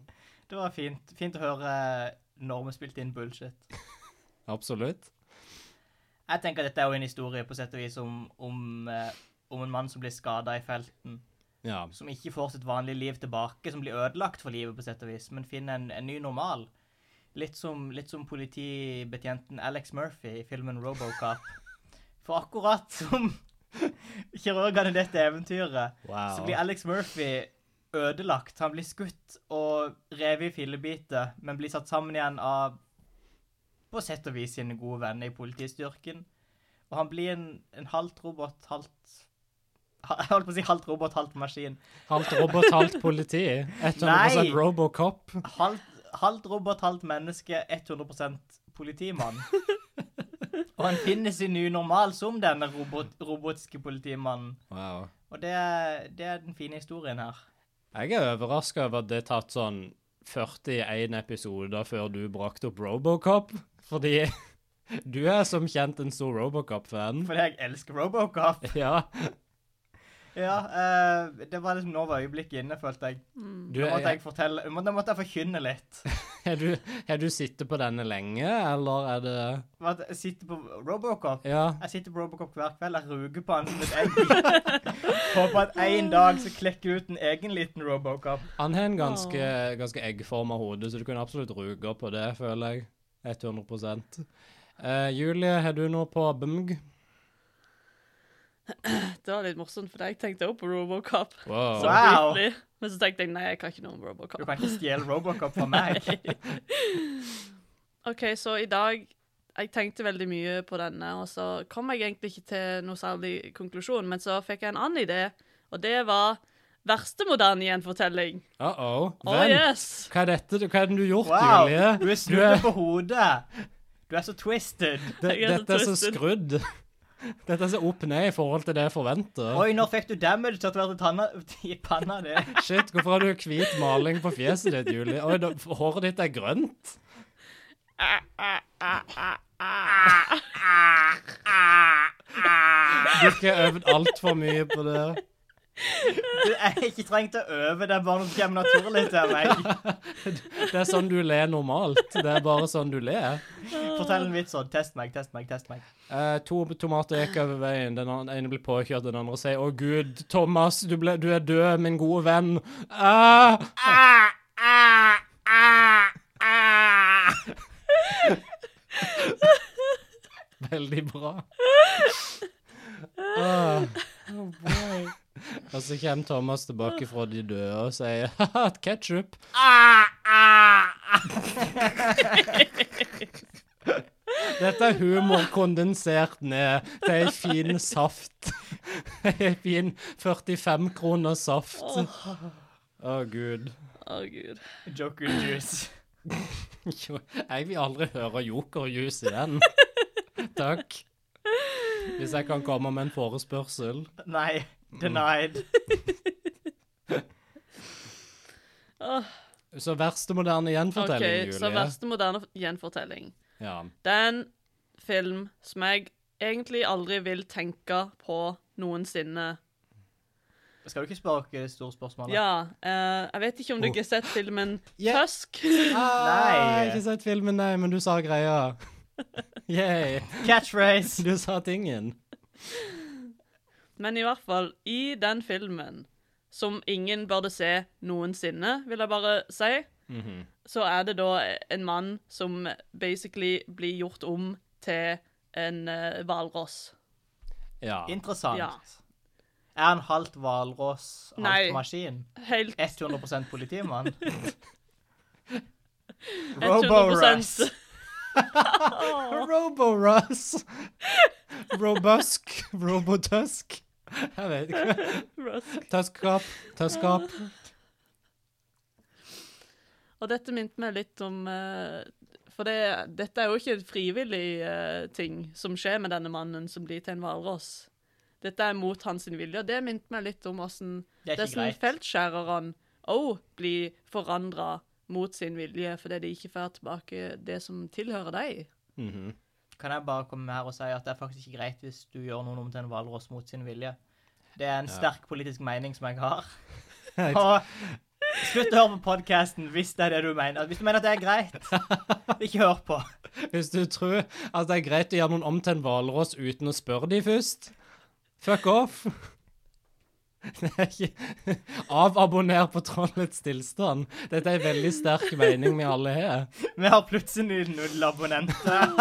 Speaker 3: Det var fint. Fint å høre når vi spilte inn bullshit.
Speaker 2: Absolutt.
Speaker 3: Jeg tenker at dette er jo en historie på sett og vis om, om, eh, om en mann som blir skada i felten.
Speaker 2: Ja.
Speaker 3: Som ikke får sitt vanlige liv tilbake, som blir ødelagt for livet, på sett og vis, men finner en, en ny normal. Litt som, litt som politibetjenten Alex Murphy i filmen Robocop. For [laughs] akkurat som kirurgene i dette eventyret, så
Speaker 2: Wow.
Speaker 3: blir Alex Murphy ødelagt. Han blir skutt og revet i fillebiter, men blir satt sammen igjen av på sett og vis sine gode venner i politistyrken. Og han blir en, en halvt robot, halvt ha- Jeg holdt på å si halvt robot, halvt maskin.
Speaker 2: Halvt robot, halvt politi. 100
Speaker 3: Nei.
Speaker 2: Robocop.
Speaker 3: Halvt, halvt robot, halvt menneske, 100 politimann. Og han finner sin nye normal som denne robot, robotiske politimannen.
Speaker 2: Wow.
Speaker 3: Og det er, det er den fine historien her.
Speaker 2: Jeg er overraska over at det er tatt sånn 41 episoder før du brakte opp Robocop, fordi du er som kjent en stor Robocop-fan.
Speaker 3: Fordi jeg elsker Robocop.
Speaker 2: Ja,
Speaker 3: Ja, eh, det var liksom nå var øyeblikket inne, følte jeg.
Speaker 2: du
Speaker 3: Nå måtte
Speaker 2: er,
Speaker 3: jeg fortelle, må- nå måtte jeg forkynne litt.
Speaker 2: er du, er du sittet på denne lenge, eller er det
Speaker 3: For at Jeg sitter på Robocop.
Speaker 2: Ja.
Speaker 3: Jeg sitter på Robocop hver kveld. Jeg ruger på han som et egg. Håper at en dag så klekker det ut en egen liten Robocop.
Speaker 2: Han har en ganske, ganske eggforma hode, så du kunne absolutt ruge på det, føler jeg. 100 Eh, Julie, har du noe på BMG?
Speaker 1: Det var litt morsomt, for jeg tenkte også på Robocop.
Speaker 2: [laughs] Wow.
Speaker 3: Wow.
Speaker 1: Virkelig. Men så tenkte jeg nei, jeg kan ikke noe om Robocop.
Speaker 3: Du kan ikke stjele Robocop fra meg.
Speaker 1: OK, så i dag Jeg tenkte veldig mye på denne, og så kom jeg egentlig ikke til noe særlig konklusjon, men så fikk jeg en annen idé, og det var verste moderne gjenfortelling.
Speaker 2: Uh -oh.
Speaker 1: Oh
Speaker 2: Vent.
Speaker 1: yes!
Speaker 2: Hva er dette? du- Hva er det du har gjort,
Speaker 3: Wow,
Speaker 1: [laughs]
Speaker 2: Julie?
Speaker 3: du er
Speaker 2: Du er-
Speaker 3: snudd på hodet. Du er så twisted.
Speaker 2: Det,
Speaker 1: Jeg er så
Speaker 2: dette er så
Speaker 1: twisted.
Speaker 2: skrudd. [laughs] Dette er så opp ned i forhold til det jeg forventer.
Speaker 3: Oi, nå fikk du damage tatovert i tanna- i panna di.
Speaker 2: Shit, hvorfor har du hvit maling på fjeset ditt, Julie? Oi, da, håret ditt er
Speaker 3: [laughs]
Speaker 2: grønt. Du har ikke øvd altfor mye på det.
Speaker 3: Du er ikke trengt å øve, det er bare noe som kommer naturlig til meg.
Speaker 2: Det er sånn du ler normalt. Det er bare sånn du ler.
Speaker 3: Fortell en vits sånn. Test meg, test meg, test meg.
Speaker 2: Eh, to tomater gikk over veien. Den an- ene ble påkjørt, den andre sier 'Å gud, Thomas, du, ble, du er død, min gode venn'. Ah! Veldig bra. Ah. Og så kommer Thomas tilbake fra de døde og sier ha-ha, ketsjup. Dette er humor kondensert ned til ei fin saft. [laughs] Ei fin 45 kroner saft.
Speaker 1: Åh,
Speaker 2: Å,
Speaker 1: Å,
Speaker 2: gud.
Speaker 1: gud.
Speaker 3: Joker juice.
Speaker 2: Jo, Jeg vil aldri høre jokerjus i den. Takk. Hvis jeg kan komme med en forespørsel.
Speaker 3: Nei. Denied.
Speaker 1: Åh,
Speaker 2: Så verste moderne
Speaker 1: OK,
Speaker 2: gjenfortelling,
Speaker 1: så
Speaker 2: Julie.
Speaker 1: verste moderne gjenfortelling.
Speaker 2: Ja.
Speaker 1: Det er en film som jeg egentlig aldri vil tenke på noensinne.
Speaker 3: Skal du ikke spørre dere det store spørsmålet?
Speaker 1: Ja, eh, jeg vet ikke om du ikke har sett filmen
Speaker 2: Ja.
Speaker 1: Tusk?
Speaker 2: Ah, jeg har
Speaker 3: Nei.
Speaker 2: ikke sett filmen, nei, men du sa greia. Yay.
Speaker 3: Catchphrase.
Speaker 2: Du sa tingen.
Speaker 1: Men i hvert fall, i den filmen, som ingen burde se noensinne, vil jeg bare si, så er det da en mann som basically blir gjort om til en eh, hvalross.
Speaker 2: [laughs] Ja.
Speaker 3: Interessant.
Speaker 1: Ja.
Speaker 3: Er han halvt hvalross,
Speaker 1: Nei.
Speaker 3: halvt maskin?
Speaker 1: Helt
Speaker 3: 100 politimann?
Speaker 1: 100 [laughs]
Speaker 3: Roborust.
Speaker 2: Roborus. Robusk. Robotusk. Jeg vet ikke.
Speaker 1: Rusk.
Speaker 2: Tuskap. Tuskap.
Speaker 1: Og dette minte meg litt om eh, For det, dette er jo ikke en frivillig eh, ting som skjer med denne mannen som blir til en hvalross. Dette er mot hans vilje, og det minte meg litt om åssen
Speaker 3: Det
Speaker 1: Det
Speaker 3: er
Speaker 1: er
Speaker 3: ikke
Speaker 1: sånn
Speaker 3: greit.
Speaker 1: feltskjærerne òg blir forandra mot sin vilje fordi de ikke får tilbake det som tilhører dem.
Speaker 2: Mhm.
Speaker 3: Kan jeg bare komme her og si at det er faktisk ikke greit hvis du gjør noen om til en hvalross mot sin vilje? Det er en sterk politisk mening som jeg har. Og slutt å høre på podkasten hvis det er det du mener. Hvis du mener at det er greit, ikke hør på.
Speaker 2: Hvis du tror at det er greit å gjøre noen om til en hvalross uten å spørre de først, fuck off. [laughs] Det er ikke Avabonner på Trollets tilstand. Dette er en veldig sterk mening vi alle har.
Speaker 3: Vi har plutselig null abonnenter.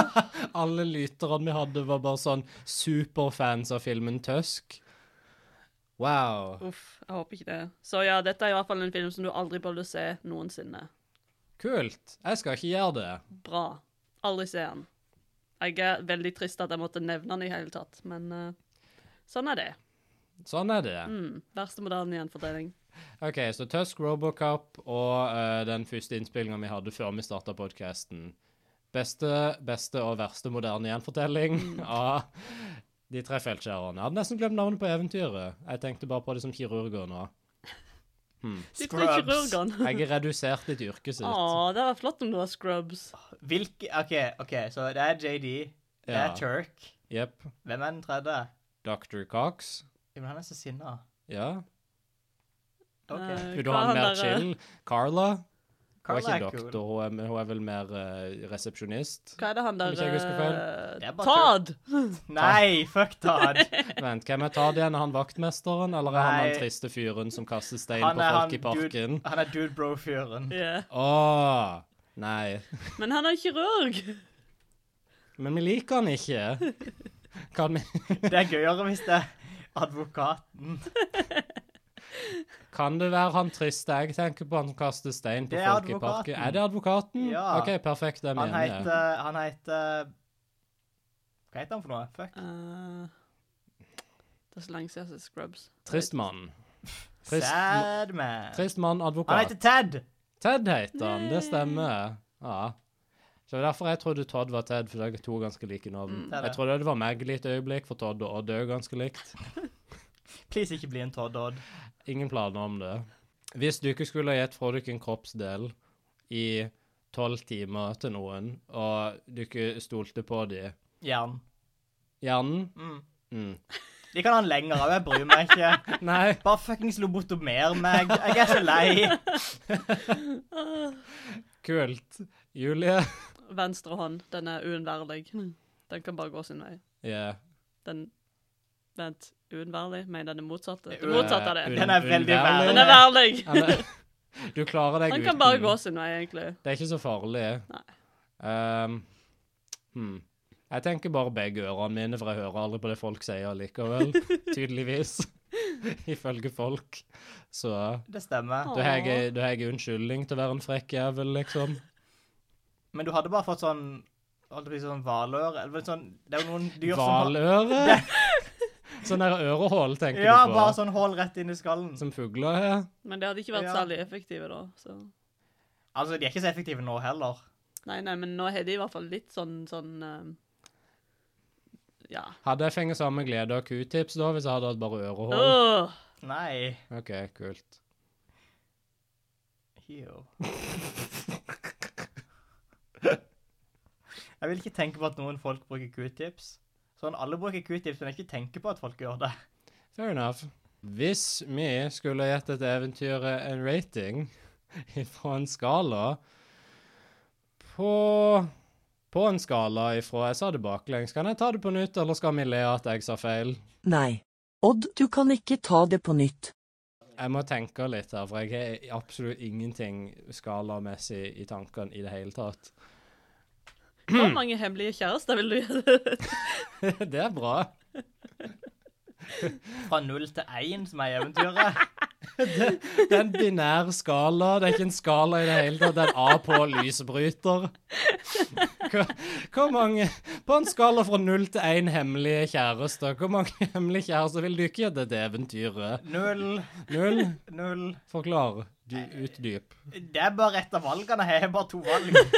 Speaker 2: Alle lytterne vi hadde, var bare sånn superfans av filmen Tusk. Wow.
Speaker 1: Uff, jeg håper ikke det. Så ja, dette er i hvert fall en film som du aldri burde se noensinne.
Speaker 2: Kult. Jeg skal ikke gjøre det.
Speaker 1: Bra. Aldri se den. Jeg er veldig trist at jeg måtte nevne den i hele tatt, men eh, sånn er det.
Speaker 2: Sånn er det.
Speaker 1: Mm, verste moderne gjenfortelling.
Speaker 2: OK, så Tusk, Robocop og eh, den første innspillinga vi hadde før vi starta podkasten. Beste, beste og verste moderne gjenfortelling
Speaker 3: Mm.
Speaker 2: [laughs] av De tre feltskjærerne. Jeg hadde nesten glemt navnet på eventyret. Jeg tenkte bare på det som kirurger nå.
Speaker 1: De tre
Speaker 3: Scrubs.
Speaker 1: [laughs] kirurgene.
Speaker 2: Jeg er redusert i yrket
Speaker 3: [laughs]
Speaker 2: sitt.
Speaker 1: Å, det var flott om det var Scrubs.
Speaker 3: Hvilke OK, ok, så det er JD, det
Speaker 2: Ja.
Speaker 3: er Turk.
Speaker 2: Jepp.
Speaker 3: Hvem er den tredje?
Speaker 2: Dr. Cox.
Speaker 3: Jo, men han er så sinna.
Speaker 2: Ja.
Speaker 3: OK.
Speaker 1: Eh,
Speaker 2: Vil du
Speaker 1: hva
Speaker 2: ha en
Speaker 1: han
Speaker 2: mer
Speaker 1: der, eh,
Speaker 2: chill? Carla? Hun
Speaker 3: Carla
Speaker 2: er ikke
Speaker 3: er
Speaker 2: doktor,
Speaker 3: cool.
Speaker 2: hun er, men hun er vel mer eh, resepsjonist.
Speaker 1: Hva er det han
Speaker 2: Om
Speaker 1: der
Speaker 2: ikke jeg husker feil.
Speaker 1: eh,
Speaker 3: Det er bare
Speaker 1: Todd!
Speaker 3: Nei, fuck Todd.
Speaker 2: Vent, hvem er Tad igjen? Er han vaktmesteren, eller er han
Speaker 3: Nei.
Speaker 2: den triste fyren som kaster stein på
Speaker 3: Han er
Speaker 2: folk
Speaker 3: han
Speaker 2: i parken?
Speaker 3: dude, han er dude bro-fyren.
Speaker 1: Ja.
Speaker 2: Åh, nei.
Speaker 1: Men han er kirurg!
Speaker 2: Men vi liker han ikke. Kan vi...
Speaker 3: Det er gøyere hvis det er advokaten.
Speaker 2: Kan det være han triste jeg tenker på, han som kaster stein på
Speaker 3: Det er
Speaker 2: folk i
Speaker 3: advokaten.
Speaker 2: parken? Er det advokaten?
Speaker 3: Ja.
Speaker 2: OK, perfekt. Det
Speaker 3: Han
Speaker 2: mener jeg.
Speaker 3: heter Han heter Hva heter han for noe? Fuck.
Speaker 1: Eh, det er så lenge siden jeg har sett Scrubs.
Speaker 2: Tristmann. Trist-
Speaker 3: Sad man.
Speaker 2: Tristmann
Speaker 3: Han
Speaker 2: advokat.
Speaker 3: heter Ted.
Speaker 2: Ted heter han, det stemmer. Ja. Så det var derfor jeg trodde Todd var Ted, for det er to ganske like navn.
Speaker 3: Mm, Det er det.
Speaker 2: Jeg trodde det var meg litt øyeblikk, for Todd og Odd er jo ganske likt.
Speaker 3: Please ikke bli en Todd Odd.
Speaker 2: Ingen planer om det. Hvis du ikke skulle ha gitt fra dere en kroppsdel i tolv timer til noen, og du ikke stolte på de
Speaker 3: Jern.
Speaker 2: Hjernen?
Speaker 3: Mm.
Speaker 2: Mm.
Speaker 3: De kan ha han lenger av, jeg bryr meg ikke.
Speaker 2: Nei.
Speaker 3: Bare fuckings lobotomer meg. Jeg er så lei.
Speaker 2: Kult. Julie?
Speaker 1: Venstre hånd, den er uunnværlig. Den kan bare gå sin vei.
Speaker 2: Ja.
Speaker 1: Den Vent, uunnværlig? Mener den det motsatte? Det
Speaker 3: Eh,
Speaker 1: motsatte av det.
Speaker 3: Den er veldig
Speaker 2: Unnværlig.
Speaker 1: Den er værlig!
Speaker 2: Eller- Du klarer deg
Speaker 1: Han
Speaker 2: uten.
Speaker 1: kan bare gå sin vei, egentlig.
Speaker 2: Det er ikke så farlig. Um, hmm. Jeg tenker bare begge ørene mine, for jeg hører aldri på det folk sier likevel. Tydeligvis.
Speaker 1: [laughs]
Speaker 2: Ifølge folk. Så
Speaker 3: Det stemmer.
Speaker 2: da har jeg da har jeg unnskyldning til å være en frekk jævel, liksom.
Speaker 3: Men du hadde bare fått sånn Holdt på å si sånn hvalør Eller sånn Det er jo noen dyr som har
Speaker 2: Hvaløre? [laughs] Sånn der ørehål, tenker
Speaker 3: Ja,
Speaker 2: du på?
Speaker 3: bare sånn hull rett inn i skallen.
Speaker 2: Som fugler har?
Speaker 1: Men det hadde ikke vært
Speaker 3: Ja.
Speaker 1: særlig effektive, da. Så.
Speaker 3: Altså, de er ikke så effektive nå heller.
Speaker 1: Nei, nei, men nå har de i hvert fall litt sånn sånn ehm, Ja.
Speaker 2: Hadde jeg fengt samme glede av q-tips da, hvis jeg hadde hatt bare ørehål?
Speaker 1: Åh,
Speaker 3: Nei.
Speaker 2: OK, kult.
Speaker 3: Jo.
Speaker 2: [laughs]
Speaker 3: Jeg vil ikke tenke på at noen folk bruker q-tips. Sånn, Alle bruker q-tips, men jeg ikke tenker på at folk gjør det.
Speaker 2: Fair enough. Hvis vi skulle gitt et eventyr en rating [laughs] fra en skala på På en skala ifra Jeg sa det baklengs. Kan jeg ta det på nytt, eller skal vi le at jeg sa feil?
Speaker 5: Nei. Odd, du kan ikke ta det på nytt.
Speaker 2: Jeg må tenke litt her, for jeg har absolutt ingenting skalamessig i tankene i det hele tatt. [laughs]
Speaker 1: Hvor mange hemmelige kjærester vil du [laughs] gjøre?
Speaker 2: det er bra.
Speaker 3: Fra null til én, som er eventyret.
Speaker 2: [laughs] Det er en binær skala. Det er ikke en skala i det hele tatt. Det er en A på lysbryter. Hvor, hvor mange På en skala fra null til én hemmelige kjærester, hvor mange hemmelige kjærester vil du ikke gi dette eventyret?
Speaker 3: Null,
Speaker 2: Null?
Speaker 3: null.
Speaker 2: Forklar. Du, utdyp. [laughs]
Speaker 3: Det er bare ett av valgene. Jeg har bare to valg.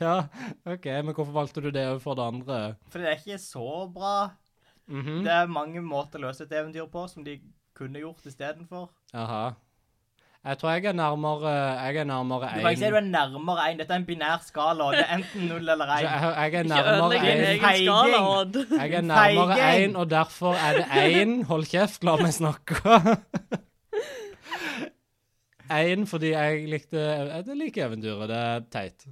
Speaker 2: Ja, OK, men hvorfor valgte du det overfor det andre?
Speaker 3: For det er ikke så bra.
Speaker 2: Mhm.
Speaker 3: Det er mange måter å løse et eventyr på, som de kunne gjort istedenfor.
Speaker 2: Aha. Jeg tror jeg er nærmere Jeg er nærmere
Speaker 3: Du kan ikke si
Speaker 2: én.
Speaker 3: du er nærmere én. Dette er en binær skala. og Det er enten null eller
Speaker 2: Jeg,
Speaker 3: én.
Speaker 2: jeg er
Speaker 1: Ikke
Speaker 2: nærmere
Speaker 1: ødelegg din
Speaker 2: én.
Speaker 1: egen skala,
Speaker 3: Feiging.
Speaker 1: Odd.
Speaker 2: Jeg er nærmere
Speaker 3: Feiging.
Speaker 2: én, og derfor er det én. Hold kjeft, la meg snakke. Én fordi jeg likte Jeg liker eventyret. Det er teit.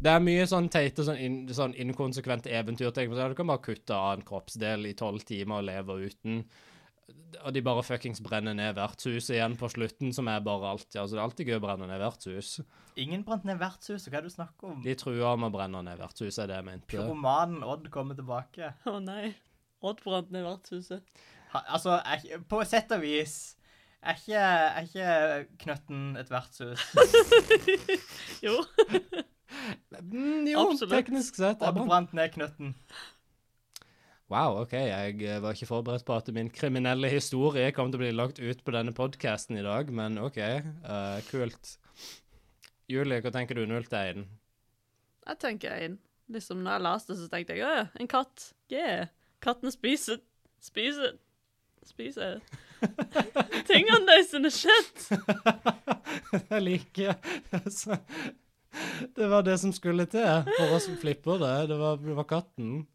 Speaker 2: Det er mye sånn teite, sånn, in, sånn inkonsekvente eventyr. tenker jeg. Så Du kan bare kutte av en kroppsdel i tolv timer og leve uten. Og de bare fuckings brenner ned vertshuset igjen på slutten, som er bare alt. Altså, det er alltid gøy å brenne ned vertshus.
Speaker 3: Ingen brant ned vertshuset. Hva er det du snakker om?
Speaker 2: De truer med å brenne ned vertshuset, er det jeg mente.
Speaker 3: Romanen Odd kommer tilbake.
Speaker 1: Å nei. Odd brant ned vertshuset.
Speaker 3: ha- Altså, er, ikke- på sett og vis er ikke, er ikke Knøtten et vertshus?
Speaker 1: Jo.
Speaker 2: Mm, jo,
Speaker 1: Absolutt.
Speaker 2: teknisk sett. er
Speaker 3: Og
Speaker 2: man-
Speaker 3: brant ned Knøtten.
Speaker 2: Wow, ok, jeg eh, var ikke forberedt på at min kriminelle historie kom til å bli lagt ut på denne podcasten i dag, men ok, eh, kult. Julie, hva tenker du 0 til 1?
Speaker 1: Jeg tenker en. Liksom når jeg leste det, så tenkte jeg «Åh, en katt. Yeah. Katten spiser Spiser Spiser Tingene deres sine shit.
Speaker 2: [laughs] Jeg liker [laughs] altså, Det var det som skulle til for oss som flipper det. Det var, det var katten.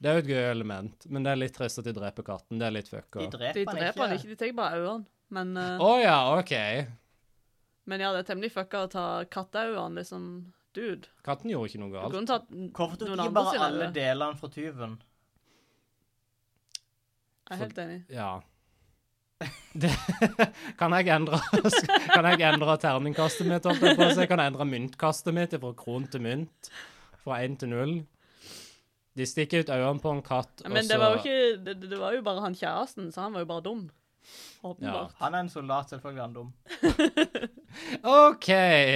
Speaker 2: Det er jo et gøy element, men det er litt trist at de dreper katten. Det er litt fucka.
Speaker 3: De
Speaker 2: Å
Speaker 1: De
Speaker 3: dreper han
Speaker 1: dreper han
Speaker 3: ikke.
Speaker 1: ikke, de tar bare øynene. Men, eh,
Speaker 2: ja, OK.
Speaker 1: men ja, det er temmelig fucka å ta katteøynene, liksom. Dude.
Speaker 2: Katten gjorde ikke noe
Speaker 1: Du
Speaker 2: galt.
Speaker 1: kunne tatt
Speaker 3: Hvorfor tok
Speaker 1: noen
Speaker 3: de
Speaker 1: andre
Speaker 3: bare
Speaker 1: sine
Speaker 3: alle
Speaker 1: øyne.
Speaker 3: delene fra tyven?
Speaker 1: Jeg er helt enig.
Speaker 2: Ja. Det, [laughs] kan jeg endre [laughs] Kan jeg endre terningkastet mitt? Holdt jeg på å si? Kan jeg endre myntkastet mitt fra kron til mynt? Fra én til null? De stikker ut øynene på en katt,
Speaker 1: Men
Speaker 2: og så
Speaker 1: det var jo
Speaker 3: altså-
Speaker 1: ikke det, det var jo bare han kjæresten, så han var jo bare dum. Åpenbart.
Speaker 3: Han er en soldat, selvfølgelig er han dum.
Speaker 2: OK!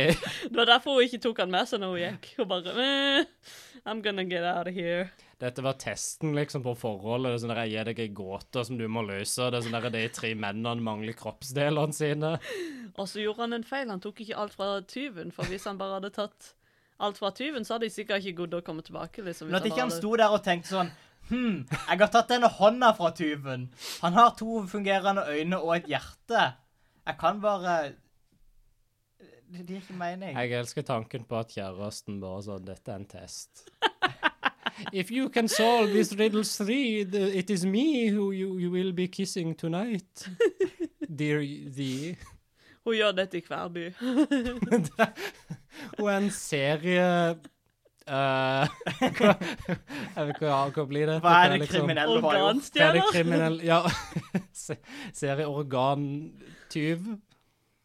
Speaker 2: [laughs]
Speaker 1: Det var derfor hun ikke tok han med seg når hun gikk. Hun bare "Eh, I'm gonna get out of here.
Speaker 2: Dette var testen liksom på forholdet. Det er sånn der, Jeg gir deg ei gåte som du må løse. Det er sånn der, De tre mennene mangler kroppsdelene sine.
Speaker 1: Og så gjorde han en feil. Han tok ikke alt fra tyven, for hvis han bare hadde tatt alt fra tyven, så hadde de sikkert ikke giddet å komme tilbake. liksom. hvis
Speaker 3: Men at ikke
Speaker 1: bare
Speaker 3: han
Speaker 1: hadde-
Speaker 3: sto der og tenkte sånn Hm, jeg har tatt denne hånda fra tyven. Han har to fungerende øyne og et hjerte. Jeg kan bare Det det gir ikke mening.
Speaker 2: Jeg elsker tanken på at kjæresten bare sånn Dette er en test.
Speaker 3: [laughs]
Speaker 2: If you can solve these riddles three, the, it is me who you, you will be kissing tonight.
Speaker 3: [laughs]
Speaker 2: Dear thee.
Speaker 1: Hun gjør dette i hver by.
Speaker 2: Og en [laughs] serie eh, hva, Jeg vet ikke hva, hva blir det?
Speaker 3: Hva er det
Speaker 2: Liksom-
Speaker 3: kriminelle har gjort?
Speaker 2: Hva er det
Speaker 1: Organstjener.
Speaker 2: kriminell Ja. [laughs] se- Serie organtyv,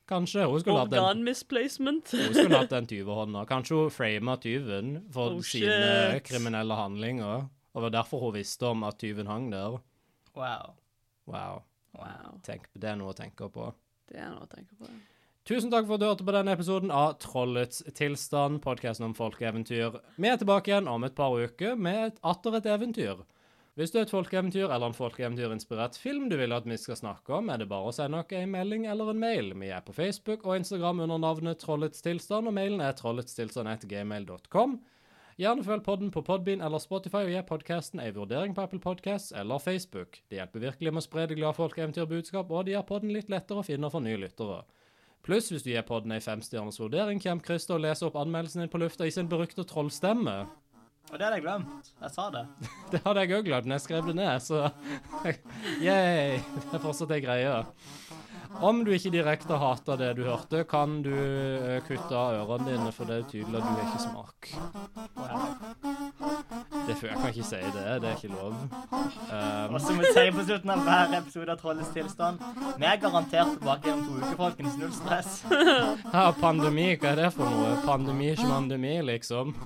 Speaker 2: kanskje? Hun skulle hatt en
Speaker 1: Organmisplacement.
Speaker 2: Hun skulle hatt den tyvehånda. Kanskje hun frama tyven for
Speaker 1: Oh,
Speaker 2: sine
Speaker 1: shit.
Speaker 2: kriminelle handlinger. Og det var derfor hun visste om at tyven hang der.
Speaker 3: Wow.
Speaker 2: Wow.
Speaker 1: [laughs] Wow.
Speaker 2: Tenk, det er noe å tenke på.
Speaker 1: Det er noe å tenke på.
Speaker 2: Tusen takk for at du hørte på denne episoden av Trollets tilstand, podkasten om folkeeventyr. Vi er tilbake igjen om et par uker med et, atter et eventyr. Hvis du er et folkeeventyr eller en folkeeventyrinspirert film du vil at vi skal snakke om, er det bare å sende oss en melding eller en mail. Vi er på Facebook og Instagram under navnet Trollets tilstand, og mailen er trolletstilstand.gmail.com. Gjerne følg podden på Podbean eller Spotify og gi podkasten en vurdering på Apple Podcasts eller Facebook. Det hjelper virkelig med å spre det glade folkeeventyrbudskap, og det gjør podden litt lettere å finne for nye lyttere. Pluss, hvis du gir podden en femstjerners vurdering, kommer Chris til å lese opp anmeldelsen din på lufta i sin berykte trollstemme.
Speaker 3: Og det hadde jeg glemt. Jeg sa det.
Speaker 2: Det hadde jeg òg glemt når jeg skrev det ned, så [laughs] yeah, det er fortsatt ei greie. Om du ikke direkte hater det du hørte, kan du eh, kutte av ørene dine, for det er tydelig at du har ikke smak. Det, jeg kan ikke si det. Det er ikke lov. Um, [laughs]
Speaker 3: Og som vi sier på slutten av hver episode av Trollets tilstand, vi er garantert tilbake igjen om to uker, folkens. Null stress.
Speaker 2: ja, pandemi, hva er det for noe? Pandemi, ikke pandemi, liksom.